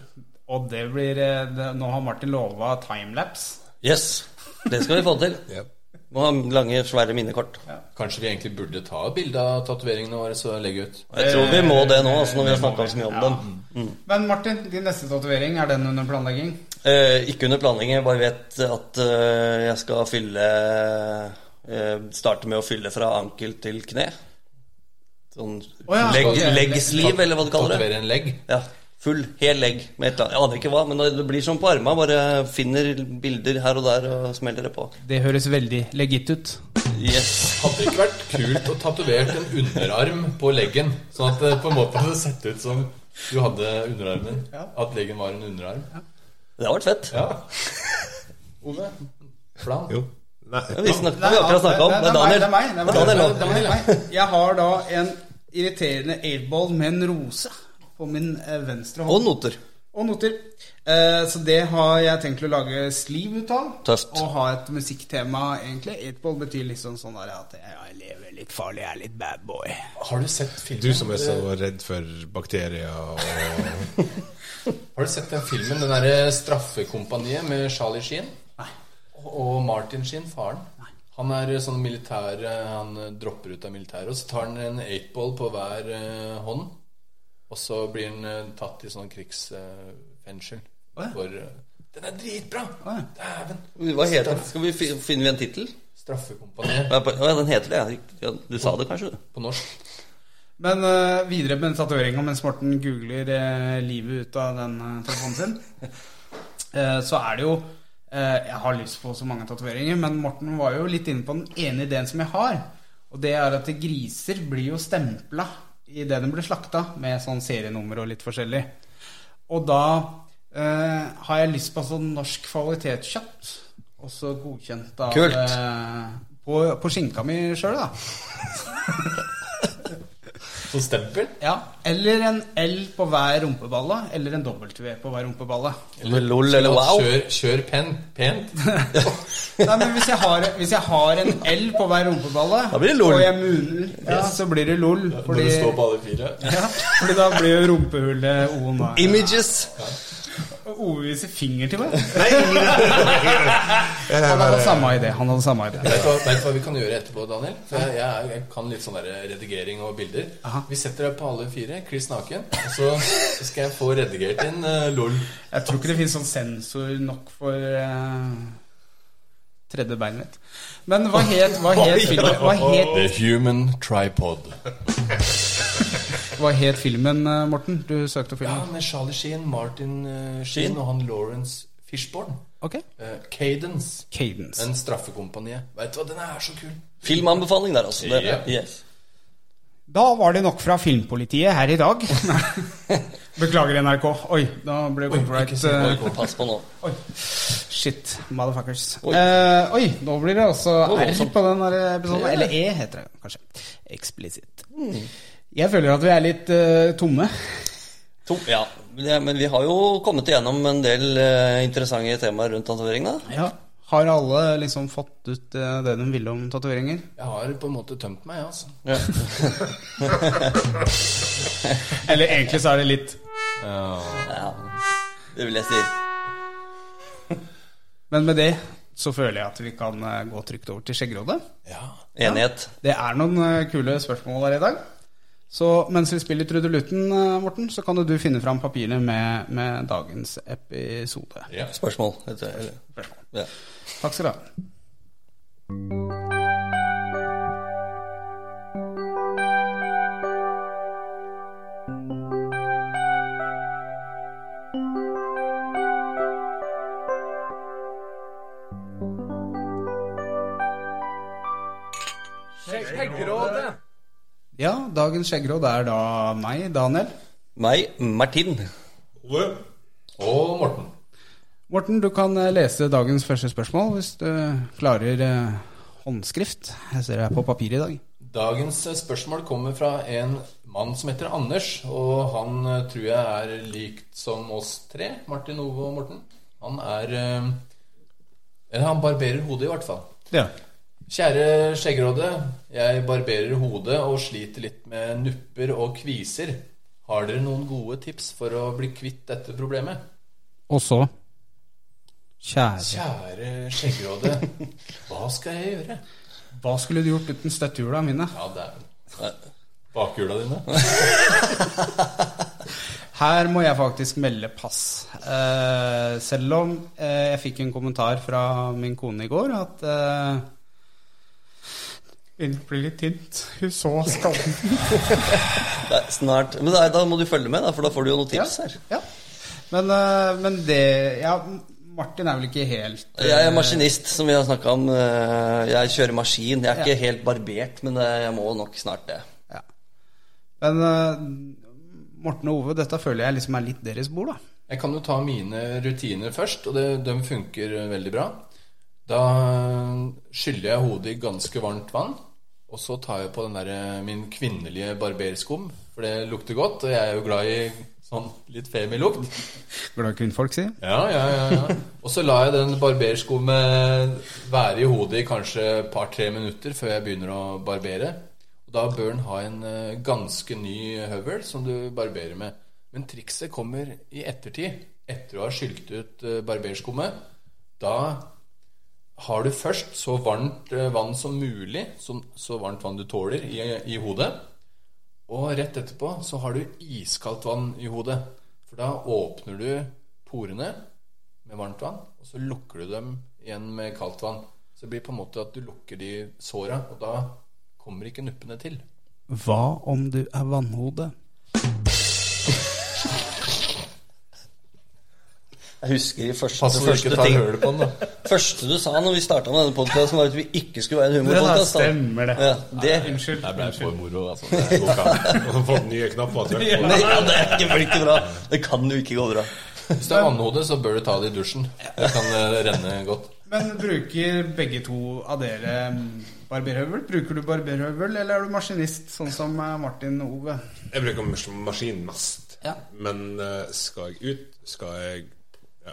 S1: Og det blir eh, det, Nå har Martin lova timelapse.
S2: Yes. Det skal vi få til.
S4: Ja.
S2: Må ha lange, svære minnekort.
S3: Kanskje vi egentlig burde ta et bilde av tatoveringene våre så legge ut.
S2: Jeg tror vi må det nå, altså når vi har snakka så mye om dem.
S1: Men Martin, din neste tatovering, er den under planlegging?
S2: Eh, ikke under planlegging, jeg bare vet at eh, jeg skal fylle eh, Starte med å fylle fra ankel til kne. Sånn
S1: Å ja.
S2: legg,
S1: Ok.
S2: leggsliv, eller hva du kaller det.
S3: Tatovere en legg.
S2: Ja, Full, hel legg med et eller annet. Jeg aner ikke hva, men det blir sånn på arma. Bare finner bilder her og der og smeller det på.
S1: Det høres veldig legit ut.
S2: Yes.
S3: Hadde det ikke vært kult å tatovere en underarm på leggen? Sånn at det på en måte hadde sett ut som du hadde underarmen. At leggen var en underarm.
S2: Det har vært fett.
S3: Ja. Ove? Plan?
S4: Jo. Nei.
S2: Ja, vi snakker, vi har akkurat snakket om
S1: det,
S2: det. er
S1: meg,
S2: Daniel.
S1: det er meg. Det er
S2: Daniel,
S1: meg. Det er meg, det er meg. Jeg har da en irriterende eightball med en rose på min eh, venstre
S2: Og
S1: hånd.
S2: noter.
S1: Og noter. Eh, Så det har jeg tenkt å lage sleeve ut av.
S2: Tøft.
S1: Og ha et musikktema, egentlig. Eightball betyr liksom sånn der at ja, jeg lever litt farlig, jeg er litt bad boy.
S3: Har du sett filmen?
S4: Du som er så redd for bakterier og
S3: Har du sett den filmen, den derre Straffekompaniet med Charlie Sheen? Nei. Og Martin Sheen, faren? Nei. Han er sånn militær eh, Han eh, dropper ut av militæret, og så tar han en eightball på hver eh, hånd. Og så blir han eh, tatt i sånn krigsfengsel.
S1: Å ja.
S3: for eh, Den er dritbra!
S1: Å ja.
S3: Dæven!
S2: Hva heter den? Skal vi fi- Finner vi en tittel?
S3: Straffekompaniet
S2: Ja, på- ja, den heter det. ja. Riktig. Ja, Du sa det kanskje? du?
S3: på norsk.
S1: Men eh, videre med tatoveringa mens Morten googler eh, livet ut av den eh, telefonen sin, (laughs) eh, så er det jo eh, Jeg har lyst på så mange tatoveringer, men Morten var jo litt inne på den ene ideen som jeg har. Og det er at griser blir jo stempla idet de blir slakta, med sånn serienummer og litt forskjellig. Og da eh, har jeg lyst på sånn norsk kvalitetskjøtt, også godkjent av
S2: Kult.
S1: eh, på, på skinka mi sjøl, da.
S3: Som Sånn stempel?
S1: Ja, eller en L på hver rumpeballe, eller en W på hver rumpeballe.
S2: LOL eller wow?
S3: Sånn Kjør, kjør pen, pent.
S1: Nei, men hvis jeg, har, hvis jeg har en L på hver rumpeballe,
S2: Da blir det lol.
S1: og jeg muner, ja, så blir det lol. Fordi,
S3: på alle fire.
S1: ja, fordi da blir jo rumpehullet O-en. da.
S2: Images.
S1: Ove viser finger til (laughs) meg.
S4: Nei, ingen
S1: Han hadde samme idé. Han hadde samme idé.
S3: Vet du hva, vet du hva vi kan gjøre etterpå, Daniel? For jeg, jeg, jeg kan litt sånn der redigering og bilder. Vi setter deg på alle fire, kliss naken, og så så skal jeg få redigert inn eh, LOL.
S1: Jeg tror ikke det finnes sånn sensor nok for eh, tredje beinet mitt. Men hva het, hva het, filmen, hva het,
S3: The Human Tripod.
S1: hva het filmen, eh, Morten? Du søkte
S3: Ja,
S1: filmen?
S3: med Charlie Sheen, Martin eh, Sheen og han Lawrence Fishborn.
S1: Ok.
S3: Eh, Cadence.
S1: Cadence.
S3: Den straffekompaniet. Vet du hva, den er så kul.
S2: Filmanbefaling der, altså. Det,
S3: Ja.
S2: yes.
S1: Da var det nok fra filmpolitiet her i (laughs) dag. Beklager, NRK. Oi, da ble det copyright.
S3: ikke si
S1: eh,
S2: Og Pass på nå.
S1: Shit, motherfuckers.
S2: Oi.
S1: Oi, oi nå blir det altså
S2: Oi,
S1: R på den her episoden.
S2: Ja.
S1: Eller E, heter det kanskje. Eksplisitt. Jeg føler at vi er litt eh, tomme.
S2: To, ja. Ja, Men vi har jo kommet igjennom en del eh, interessante temaer rundt tatovering, da.
S1: Har alle liksom fått ut eh, det de ville om tatoveringer?
S3: Jeg har på en måte tømt meg, altså.
S2: Ja.
S1: Eller egentlig så er det litt
S2: ja. Det vil jeg si.
S1: Men med det så føler jeg at vi kan eh, gå trygt over til Skjeggerådet.
S3: Ja.
S2: Enighet.
S1: Det er noen eh, kule spørsmål her i dag. Så mens vi spiller trudelutten, eh, Morten, så kan jo du finne fram papiret med, med dagens episode.
S3: ja.
S2: Spørsmål. vet du, eller- Ja.
S1: Takk skal du ha. Ja, dagens skjeggråd er da meg, Daniel.
S2: Meg, Martin.
S4: Ove?
S3: Og Morten.
S1: Morten, du kan eh, lese dagens første spørsmål hvis du klarer eh, håndskrift. Jeg ser det er på papir i dag.
S3: Dagens spørsmål kommer fra en mann som heter Anders, og han eh, tror jeg er likt som oss tre, Martin, Ove og Morten. Han er eh, Eller han barberer hodet, i hvert fall.
S1: Ja.
S3: Kjære Skjeggråde, jeg barberer hodet og sliter litt med nupper og kviser. Har dere noen gode tips for å bli kvitt dette problemet?
S1: Og så Kjære.
S3: Kjære Skjeggråde, (laughs) hva skal jeg gjøre?
S1: Hva skulle du gjort uten støttehjula mine?
S3: Ja, dæven. Bakhjula dine?
S1: Her må jeg faktisk melde pass. Eh, selv om eh, jeg fikk en kommentar fra min kone i går at eh, Innet blir litt tynt. Hun så (laughs) skallen.
S2: Det er snart. Men nei, da må du følge med, da, for da får du jo noen tips her.
S1: Ja. Men, eh, men det Ja, Martin er vel ikke helt eh,
S2: Jeg er maskinist, som vi har snakka om. eh, Jeg kjører maskin. Jeg er ikke helt barbert, men eh, jeg må nok snart det.
S1: ja. Men eh, Morten og Ove, dette føler jeg liksom er litt deres bord, da.
S3: Jeg kan jo ta mine rutiner først, og det, de funker veldig bra. Da skyller jeg hodet i ganske varmt vann, og så tar jeg på den der, eh, min kvinnelige barberskum, for det lukter godt, og jeg er jo glad i sånn litt femilukt.
S1: Glad kvinnfolk, si.
S3: Ja, ja, ja, ja. Og så lar jeg den barberskummet være i hodet i kanskje et par-tre minutter før jeg begynner å barbere. Og da bør den ha en eh, ganske ny høvel som du barberer med. Men trikset kommer i ettertid. Etter å ha skylt ut eh, barberskummet. Da har du først så varmt eh, vann som mulig, som, så varmt vann du tåler, i, i hodet. Og rett etterpå så har du iskaldt vann i hodet. For da åpner du porene med varmt vann, og så lukker du dem igjen med kaldt vann. Så det blir på en måte at du lukker de såra, og da kommer ikke nuppene til.
S1: Hva om du er vannhode?
S2: Jeg husker i første,
S3: Pass så du ikke
S2: første
S3: tar
S2: ting
S3: hølet på den, da.
S2: første du sa når vi starta med denne podkasten, var at vi ikke skulle være en
S1: Det der
S2: humorpodkast.
S1: stemmer, det.
S2: Ja, det.
S1: Unnskyld.
S3: Det ble for moro, altså.
S4: Han har fått nye knapper. til hvert fall.
S2: Nei, (laughs) ja, det er ikke, blir ikke bra. Det kan jo ikke gå bra.
S3: Hvis det er vannhode, så bør du ta det i dusjen. Det kan eh, renne godt.
S1: Men bruker begge to av dere mm, barberhøvel? Bruker du barberhøvel, eller er du maskinist, sånn som eh, Martin og Ove?
S4: Jeg bruker mas- maskin mest.
S1: Ja.
S4: Men eh, skal jeg ut, skal jeg ja,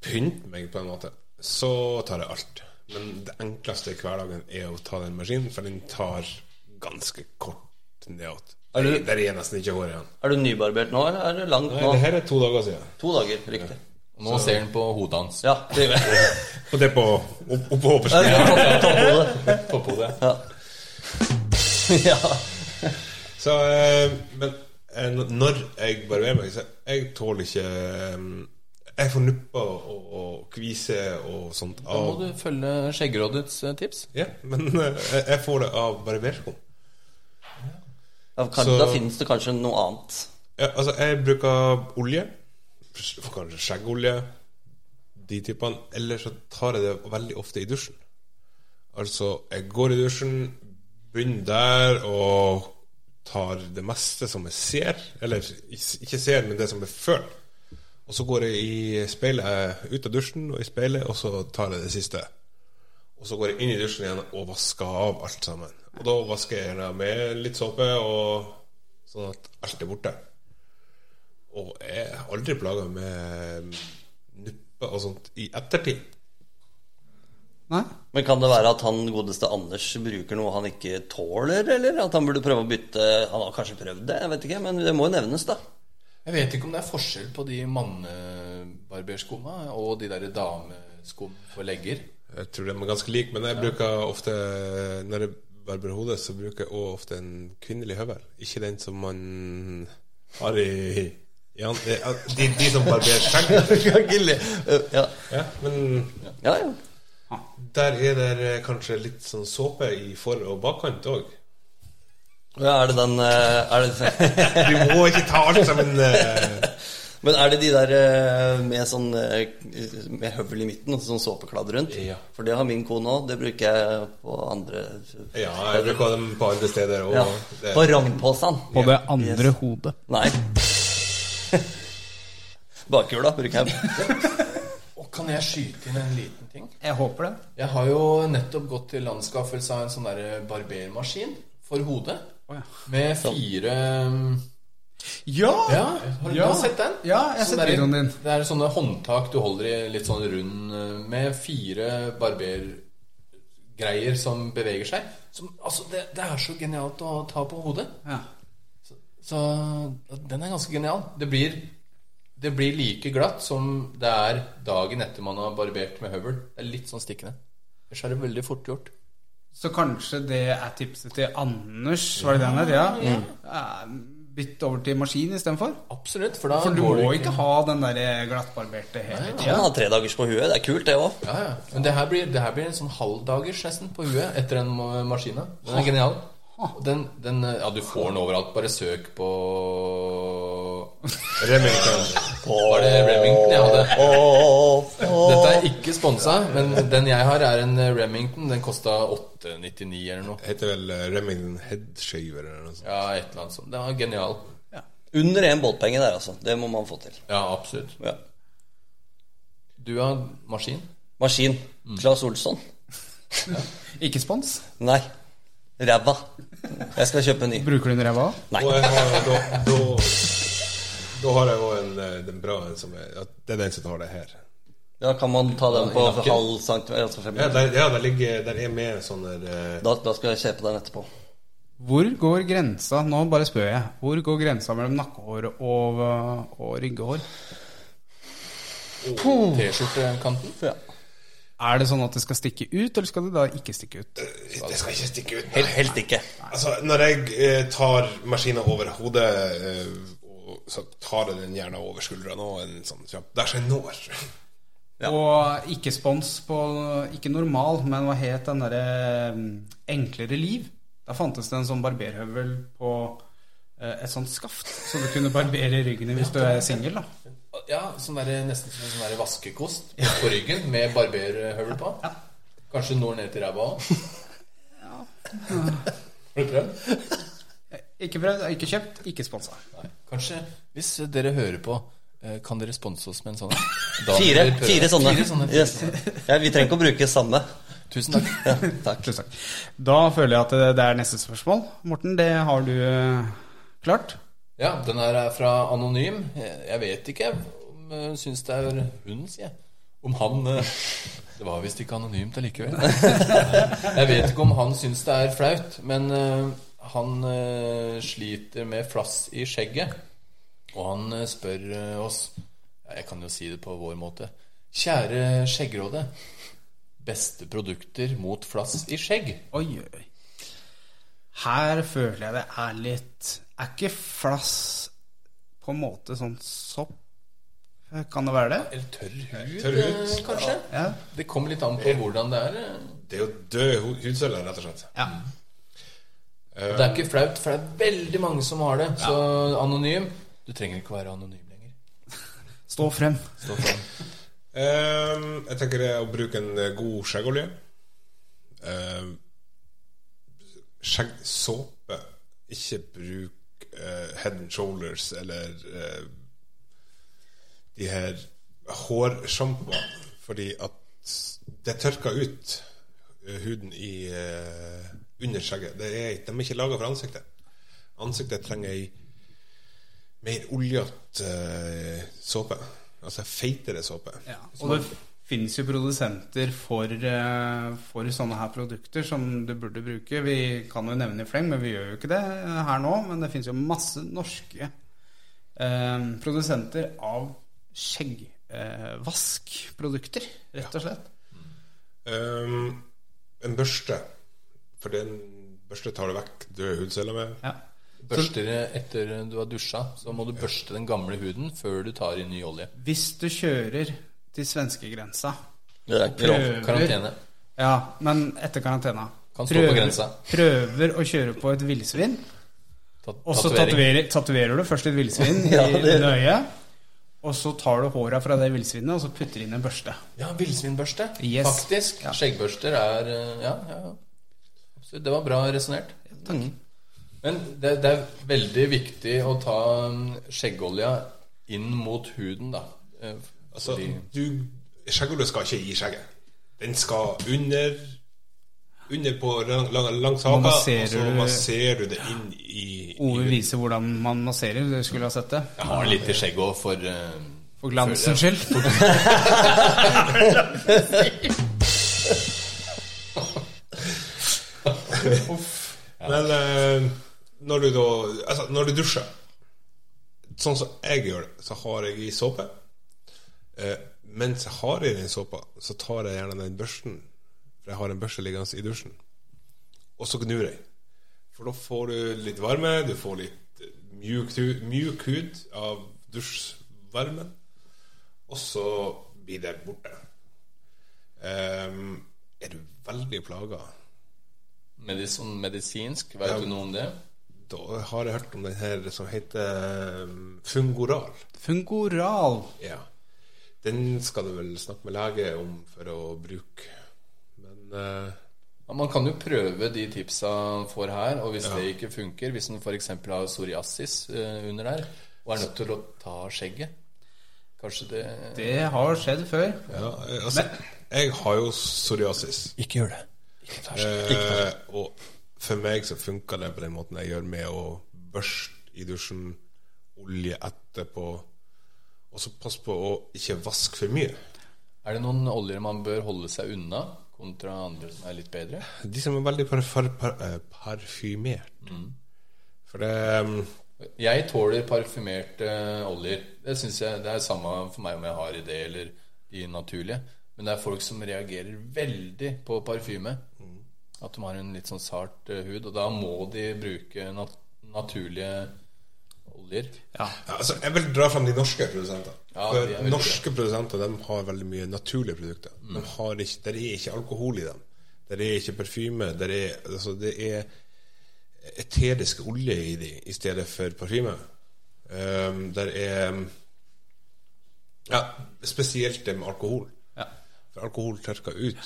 S4: pynte meg på en måte, så tar jeg alt. Men det enkleste i hverdagen er å ta den maskinen, for den tar ganske kort Neot.
S2: Er du-
S4: Der er nesten ikke hår igjen.
S2: Er du nybarbert nå, eller er det langt
S4: Nei,
S2: nå?
S4: det her er to dager siden.
S2: To dager, riktig.
S3: Og Nå ser han på hodet hans.
S2: Ja, det gjør jeg.
S4: Og det er på opp- oppå overskriften.
S2: Topp- topphodet.
S3: På hodet.
S2: Ja. (laughs) ja.
S4: Så, eh, men eh, når jeg barberer meg, så jeg tåler ikke eh, Jeg får nupper og, og kvise og sånt
S3: Da må
S4: av
S3: du følge Skjeggerådets eh, tips.
S4: Ja, men eh, jeg jeg får det av barbersko.
S2: ja kanskje,
S4: Så-
S2: Da finnes det kanskje noe annet.
S4: Ja, altså, jeg bruker olje. Kanskje skjeggolje. De typene. Eller så tar jeg det veldig ofte i dusjen. Altså, jeg går i dusjen, begynner der og tar det meste som jeg ser. Eller ikke ser, men det som jeg føler. Og så går jeg i speilet ut av dusjen og i speilet, og så tar jeg det siste. Og så går jeg inn i dusjen igjen og vasker av alt sammen. Og da vasker jeg gjerne med litt såpe, og sånn at alt er borte. Og jeg er aldri plaga med nupper og sånt i ettertid.
S1: Nei?
S2: Men kan det være at han godeste Anders bruker noe han ikke tåler, eller at han burde prøve å bytte Han har kanskje prøvd det, jeg vet ikke, men det må jo nevnes, da.
S3: Jeg vet ikke om det er forskjell på de mannebarberskoene og de der dameskoene for legger.
S4: Jeg tror de er ganske like, men jeg bruker ofte Når jeg barberer hodet, så bruker jeg også ofte en kvinnelig høvel. Ikke den som man har i, i an- eh, de, de som barberer skjegg.
S2: Ja,
S4: Ja, men
S2: ja. ja.
S4: der er det kanskje litt sånn såpe i for- og bakkant òg.
S2: ja er det den eh, er det,
S4: Du må ikke ta alt som en eh,
S2: Men er det de der eh, med sånn eh, Med høvel i midten og sånn såpekladd rundt?
S4: Ja.
S2: For det har min kone òg. Det bruker jeg på andre
S4: Ja, jeg bruker dem på andre steder òg.
S2: ja. På rognposen.
S1: På det andre hodet.
S2: Nei. Bakhjula bruker jeg.
S3: Og kan jeg skyte inn en liten ting?
S1: Jeg håper det.
S3: Jeg har jo nettopp gått til anskaffelse av en sånn der barbermaskin for hodet.
S1: Å, ja.
S3: Med fire
S1: Ja!
S3: Ja, har du
S1: Ja.
S3: du har sett den? Sånn
S1: Ja, jeg har sett
S3: der-
S1: videoen din.
S3: Det er sånne håndtak du holder i litt sånn rund eh, Med fire barbergreier som beveger seg. Som, altså, det, det er så genialt å ta på hodet.
S1: Ja.
S3: Så den er ganske genial. Det blir, det blir like glatt som det er dagen etter man har barbert med høvel. Det er litt sånn stikkende. Ellers er det veldig fort gjort.
S1: Så kanskje det er tipset til Anders, var det den der? Ja. Ja, Bytt over til maskin istedenfor?
S3: Absolutt, for da
S1: For du
S3: går det
S1: må ikke ha den der glattbarberte hele tida.
S2: Han har tredagers på huet. Det er kult, det òg.
S3: Ja, ja. Men det her blir, det her blir en sånn halvdagers nesten på huet etter den ma- maskina. Den er genial. Og Den, den, eh, ja, du får den overalt. Bare søk på
S4: Remington.
S3: Var det Remington jeg hadde?
S2: Dette
S3: Dette er ikke sponsa, men den jeg har, er en eh, Remington. Den kosta 899 eller noe.
S4: Heter vel eh, Remington Headshaver eller noe sånt.
S3: Ja, et eller annet sånt. Den var genial.
S2: Under én båtpenge der, altså. Det må man få til.
S3: Ja, absolutt.
S2: Ja.
S3: Du har maskin?
S2: Maskin.
S4: Mm.
S2: Claes Olsson.
S1: Ikke spons.
S2: Nei. Ræva. Jeg skal kjøpe en ny.
S1: Bruker du den ræva?
S2: Nei.
S4: Og jeg har, da, da, da har jeg òg en, eh, den bra en som er at Det er den som tar det her.
S2: Da kan man ta den på
S3: Nakken.
S2: halv centimeter. Altså fem
S4: Ja, der, ja, der ligger Der er med en sånn der eh,
S2: da, da skal jeg kjøpe den etterpå.
S1: Hvor går grensa Nå bare spør jeg. Hvor går grensa mellom nakkehår og, og ryggehår?
S3: T-skjortekanten?
S2: Ja.
S1: Er det sånn at det skal stikke ut, eller skal det da ikke stikke ut?
S4: Det skal ikke stikke ut.
S2: Helt, helt ikke.
S4: Altså, når jeg eh, tar maskina over hodet, eh, og- så tar jeg den gjerne over skuldra nå. En sånn kjapp Der som jeg når.
S1: Og ikke spons på Ikke normal, men hva het den derre mm, Enklere liv? Da fantes det en sånn barberhøvel på eh, et sånt skaft, så du kunne barbere ryggen din hvis du er singel, da.
S3: Ja, sånn der, nesten som en sånn der vaskekost på ryggen med barberhøvel på. Kanskje når ned til ræva òg. (laughs) Har du prøvd?
S1: Ikke prøvd, ikke kjøpt, ikke sponsa.
S3: Nei. Kanskje hvis dere hører på, eh, kan dere sponse oss med en sånn? Da må
S2: Fire,
S3: dere prøve.
S2: fire sånne.
S3: Fire sånne.
S2: Yes. Ja, vi trenger ikke å bruke samme.
S3: Tusen takk.
S2: Ja, takk.
S1: Tusen takk. Da føler jeg at det- det er neste spørsmål. Morten, det har du eh, klart.
S3: Ja, den her er fra Anonym. Jeg jeg vet ikke om hun syns det er hun, sier jeg. Om han eh, (laughs) Det var (laughs) visst ikke anonymt allikevel. Jeg vet ikke om han syns det er flaut, men eh, han eh, sliter med flass i skjegget, og han eh, spør eh, oss ja, Jeg kan jo si det på vår måte. Kjære Skjeggrådet. Beste produkter mot flass i skjegg.
S1: Oi, oi. Her føler jeg det er litt Er ikke flass på en måte sånn sopp? Kan det være det?
S3: Eller tørr hud,
S4: Tørr hud.
S3: eh, kanskje?
S1: Ja.
S3: Det kommer litt an på hvordan det er. eh.
S4: Det er jo døde hu- hudceller, rett og slett.
S1: ja.
S3: Og Det er ikke flaut, for det er veldig mange som har det. Så anonym Du trenger ikke å være anonym lenger.
S1: Stå frem.
S3: (laughs) Stå fram.
S4: Ehm, jeg tenker det er å bruke en eh, god skjeggolje. Ehm, Skjeggsåpe. Ikke bruk eh, Head and Shoulders eller eh, de her hårsjampoene, fordi at det tørker ut eh, huden i, eh, under skjegget. Det er, de er ikke laga for ansiktet. Ansiktet trenger ei mer oljete eh, såpe. Altså feitere såpe.
S1: Ja. Og det finnes jo produsenter for, eh, for sånne her produkter som du burde bruke. Vi kan jo nevne i fleng, men vi gjør jo ikke det her nå. Men det finnes jo masse norske eh, produsenter av skjeggvaskprodukter, rett og slett.
S4: Ehm, en børste. For den børste tar du vekk døde hudceller med.
S1: Ja.
S3: Børster etter du har dusja, så må du børste den gamle huden før du tar i ny olje.
S1: Hvis du kjører til svenskegrensa
S2: Det er ikke lov.
S1: Prøver.
S3: Karantene.
S1: Ja, men etter karantena.
S3: Kan stå på grensa.
S1: prøver å kjøre på et villsvin,
S3: Ta-
S1: og så tatoverer
S3: tatovering.
S1: tatoverer du først et villsvin
S3: (laughs)
S1: i
S2: Ja, det-
S1: det øyet. Og så tar du håra fra det villsvinet og så putter inn en børste.
S3: Ja, villsvinbørste.
S1: Yes.
S3: Faktisk.
S1: Ja.
S3: Skjeggbørster er eh, Ja, ja. ja. Absolutt. Det var bra resonnert. Takk.
S2: Mm.
S3: Men det, det er veldig viktig å ta mm, skjeggolja inn mot huden, da. Eh,
S4: Altså,
S3: fordi
S4: du, skjeggolje skal ikke i skjegget. Den skal under Under på lang, lang, langs haka, og
S1: masserer
S4: så
S1: du-
S4: masserer du det inn i, i
S1: Ove viser hvordan man masserer. Du skulle ha sett det.
S3: jeg har litt i skjegget òg for eh,
S1: For glansens skyld.
S3: (laughs)
S4: Men eh, når du da Altså, når du dusjer Sånn som jeg gjør det, så har jeg i såpe. Eh, mens jeg har i den såpa, så tar jeg gjerne den børsten. For jeg har en børste liggende i dusjen. Og så gnur jeg. For da får du litt varme, du får litt eh, mjuk, hu- mjuk hud av dusjvarmen. Og så blir det borte. Ehm, er du veldig plaga,
S3: medis sånn medisinsk. Vet du noe om det?
S4: da har jeg hørt om den her som heter um, Fungoral.
S1: Fungoral.
S4: Ja. Den skal du vel snakke med lege om for å bruke. Men eh,
S3: Ja, Man kan jo prøve de tipsa han får her, og hvis det ikke funker Hvis han f.eks. har psoriasis eh, under der og er nødt til å ta skjegget Kanskje det,
S1: Det har skjedd før.
S4: ja, eh, altså, jeg har jo psoriasis.
S3: Ikke gjør det. Ikke ta skjegget.
S4: Eh, og for meg så funka det på den måten jeg gjør med å børste i dusjen, olje etterpå, og så pass på å ikke vaske for mye.
S3: Er det noen oljer man bør holde seg unna, kontra andre som er litt bedre?
S4: De som er veldig par, par, par, eh, parfymert.
S3: Mm.
S4: For det um,
S3: Jeg tåler parfymerte oljer. Det synes jeg Det er samme for meg om jeg har i det eller de naturlige. Men det er folk som reagerer veldig på parfyme. At de har en litt sånn sart eh, hud. Og da må de bruke nat naturlige oljer.
S4: Ja, altså, jeg vil dra fram de norske produsentene.
S3: Ja, de er
S4: For
S3: veldig bra. Mm.
S4: norske produsenter de har veldig mye naturlige produkter. De har ikke, der er ikke alkohol i dem. Der er ikke parfyme. Der er, altså, det er eterisk olje i de i stedet for parfyme. Um, der er Ja, spesielt det med alkohol. For alkohol tørker ut.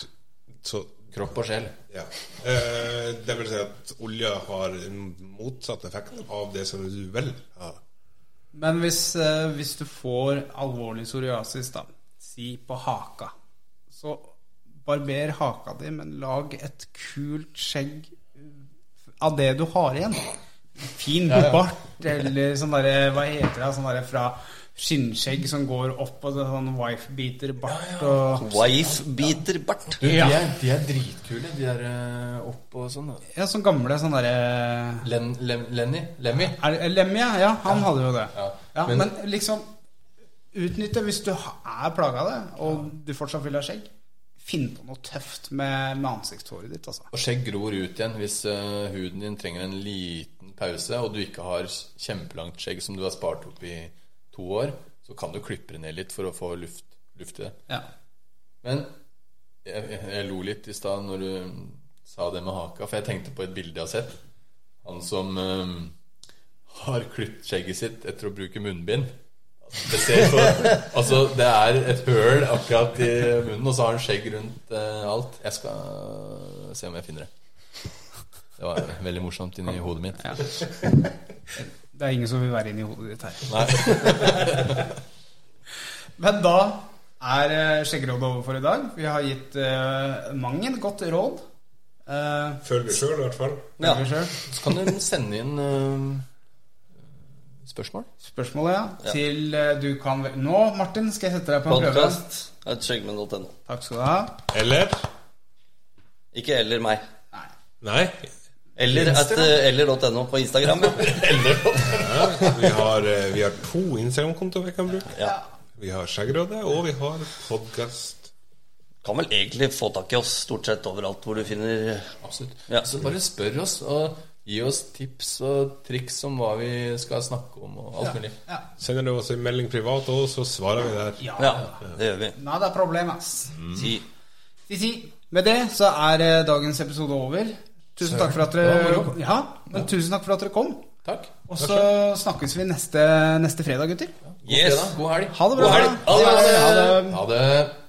S4: Så
S3: Kropp og sjel.
S4: ja. Eh, det vil si at olja har en motsatt effekt av det som du vil ha.
S1: Men hvis, eh, hvis du får alvorlig psoriasis, da, si på haka, så barber haka di, men lag et kult skjegg eh, av det du har igjen. Fin bart eller sånn derre Hva heter det? Sånn derre fra skinnskjegg som går opp, og det er sånn wife-beater-bart og
S2: Wife-biter-bart.
S3: Du,
S1: Ja.
S3: de, er, de er dritkule, de der eh, opp og sånn. da.
S1: Ja, sånn gamle sånn derre
S3: Len, lem, Lenny? Lemmy?
S1: Er det- Lemmy, ja. ja han hadde jo det. Ja,
S3: Ja,
S1: men,
S3: men-
S1: liksom Utnytte hvis du ha- er plaga av det, og du fortsatt vil ha skjegg. Finn på noe tøft med, med ansiktshåret ditt, altså.
S3: Og skjegg gror ut igjen hvis eh, huden din trenger en liten pause, og du ikke har s- kjempelangt skjegg som du har spart opp i to år, så kan du klippe det ned litt for å få luft, luft i det.
S1: Ja.
S3: Men jeg, jeg, jeg lo litt i stad når du sa det med haka, for jeg tenkte på et bilde jeg har sett. Han som eh, har klippet skjegget sitt etter å bruke munnbind. Det, ser så, altså, det er et høl akkurat i munnen, og så har han skjegg rundt eh, alt. Jeg skal eh, se om jeg finner det. Det var veldig morsomt inni hodet mitt.
S1: Det er ingen som vil være inni hodet ditt her.
S3: Nei.
S1: (laughs) Men da er eh, Skjeggerådet over for i dag. Vi har gitt eh, mang et godt råd. Eh,
S4: Følg det sjøl, i hvert fall.
S2: Ja.
S1: føler vi selv.
S3: Så kan du sende inn eh, spørsmål.
S1: Spørsmålet, ja. Til eh, du kan vel- Nå, Martin, skal jeg sette deg på en prøve.
S2: Podcast at skjeggmenn.no.
S1: Takk skal du ha.
S4: Eller?
S2: Ikke eller meg.
S4: Nei.
S2: Eller at eh, eller.no på Instagram.
S1: (laughs)
S2: ja.
S4: Vi har, eh, vi har to Instagram-kontoer vi kan bruke.
S2: Ja.
S4: Vi har Skjeggrådet, og vi har podkast.
S2: Kan vel egentlig få tak i oss stort sett overalt hvor du finner
S3: Absolutt.
S2: Ja.
S3: Så bare spør oss, og gi oss tips og triks om hva vi skal snakke om, og alt mulig.
S4: Sender du oss en melding privat òg, så svarer vi der.
S1: Ja.
S2: Ja, det gjør vi.
S1: Nei, det er problem, ass.
S2: Si
S1: Si, si. Med det så er eh, dagens episode over. Tusen takk for at
S3: det
S1: dere
S3: var moro.
S1: Ja, men tusen takk for at dere kom.
S3: Takk.
S1: Og så snakkes vi neste, neste fredag, gutter.
S3: God
S2: Yes.
S3: fredag. God helg.
S1: Ha det bra.
S2: God helg. Ha det.
S1: Ha det.
S3: Ha det.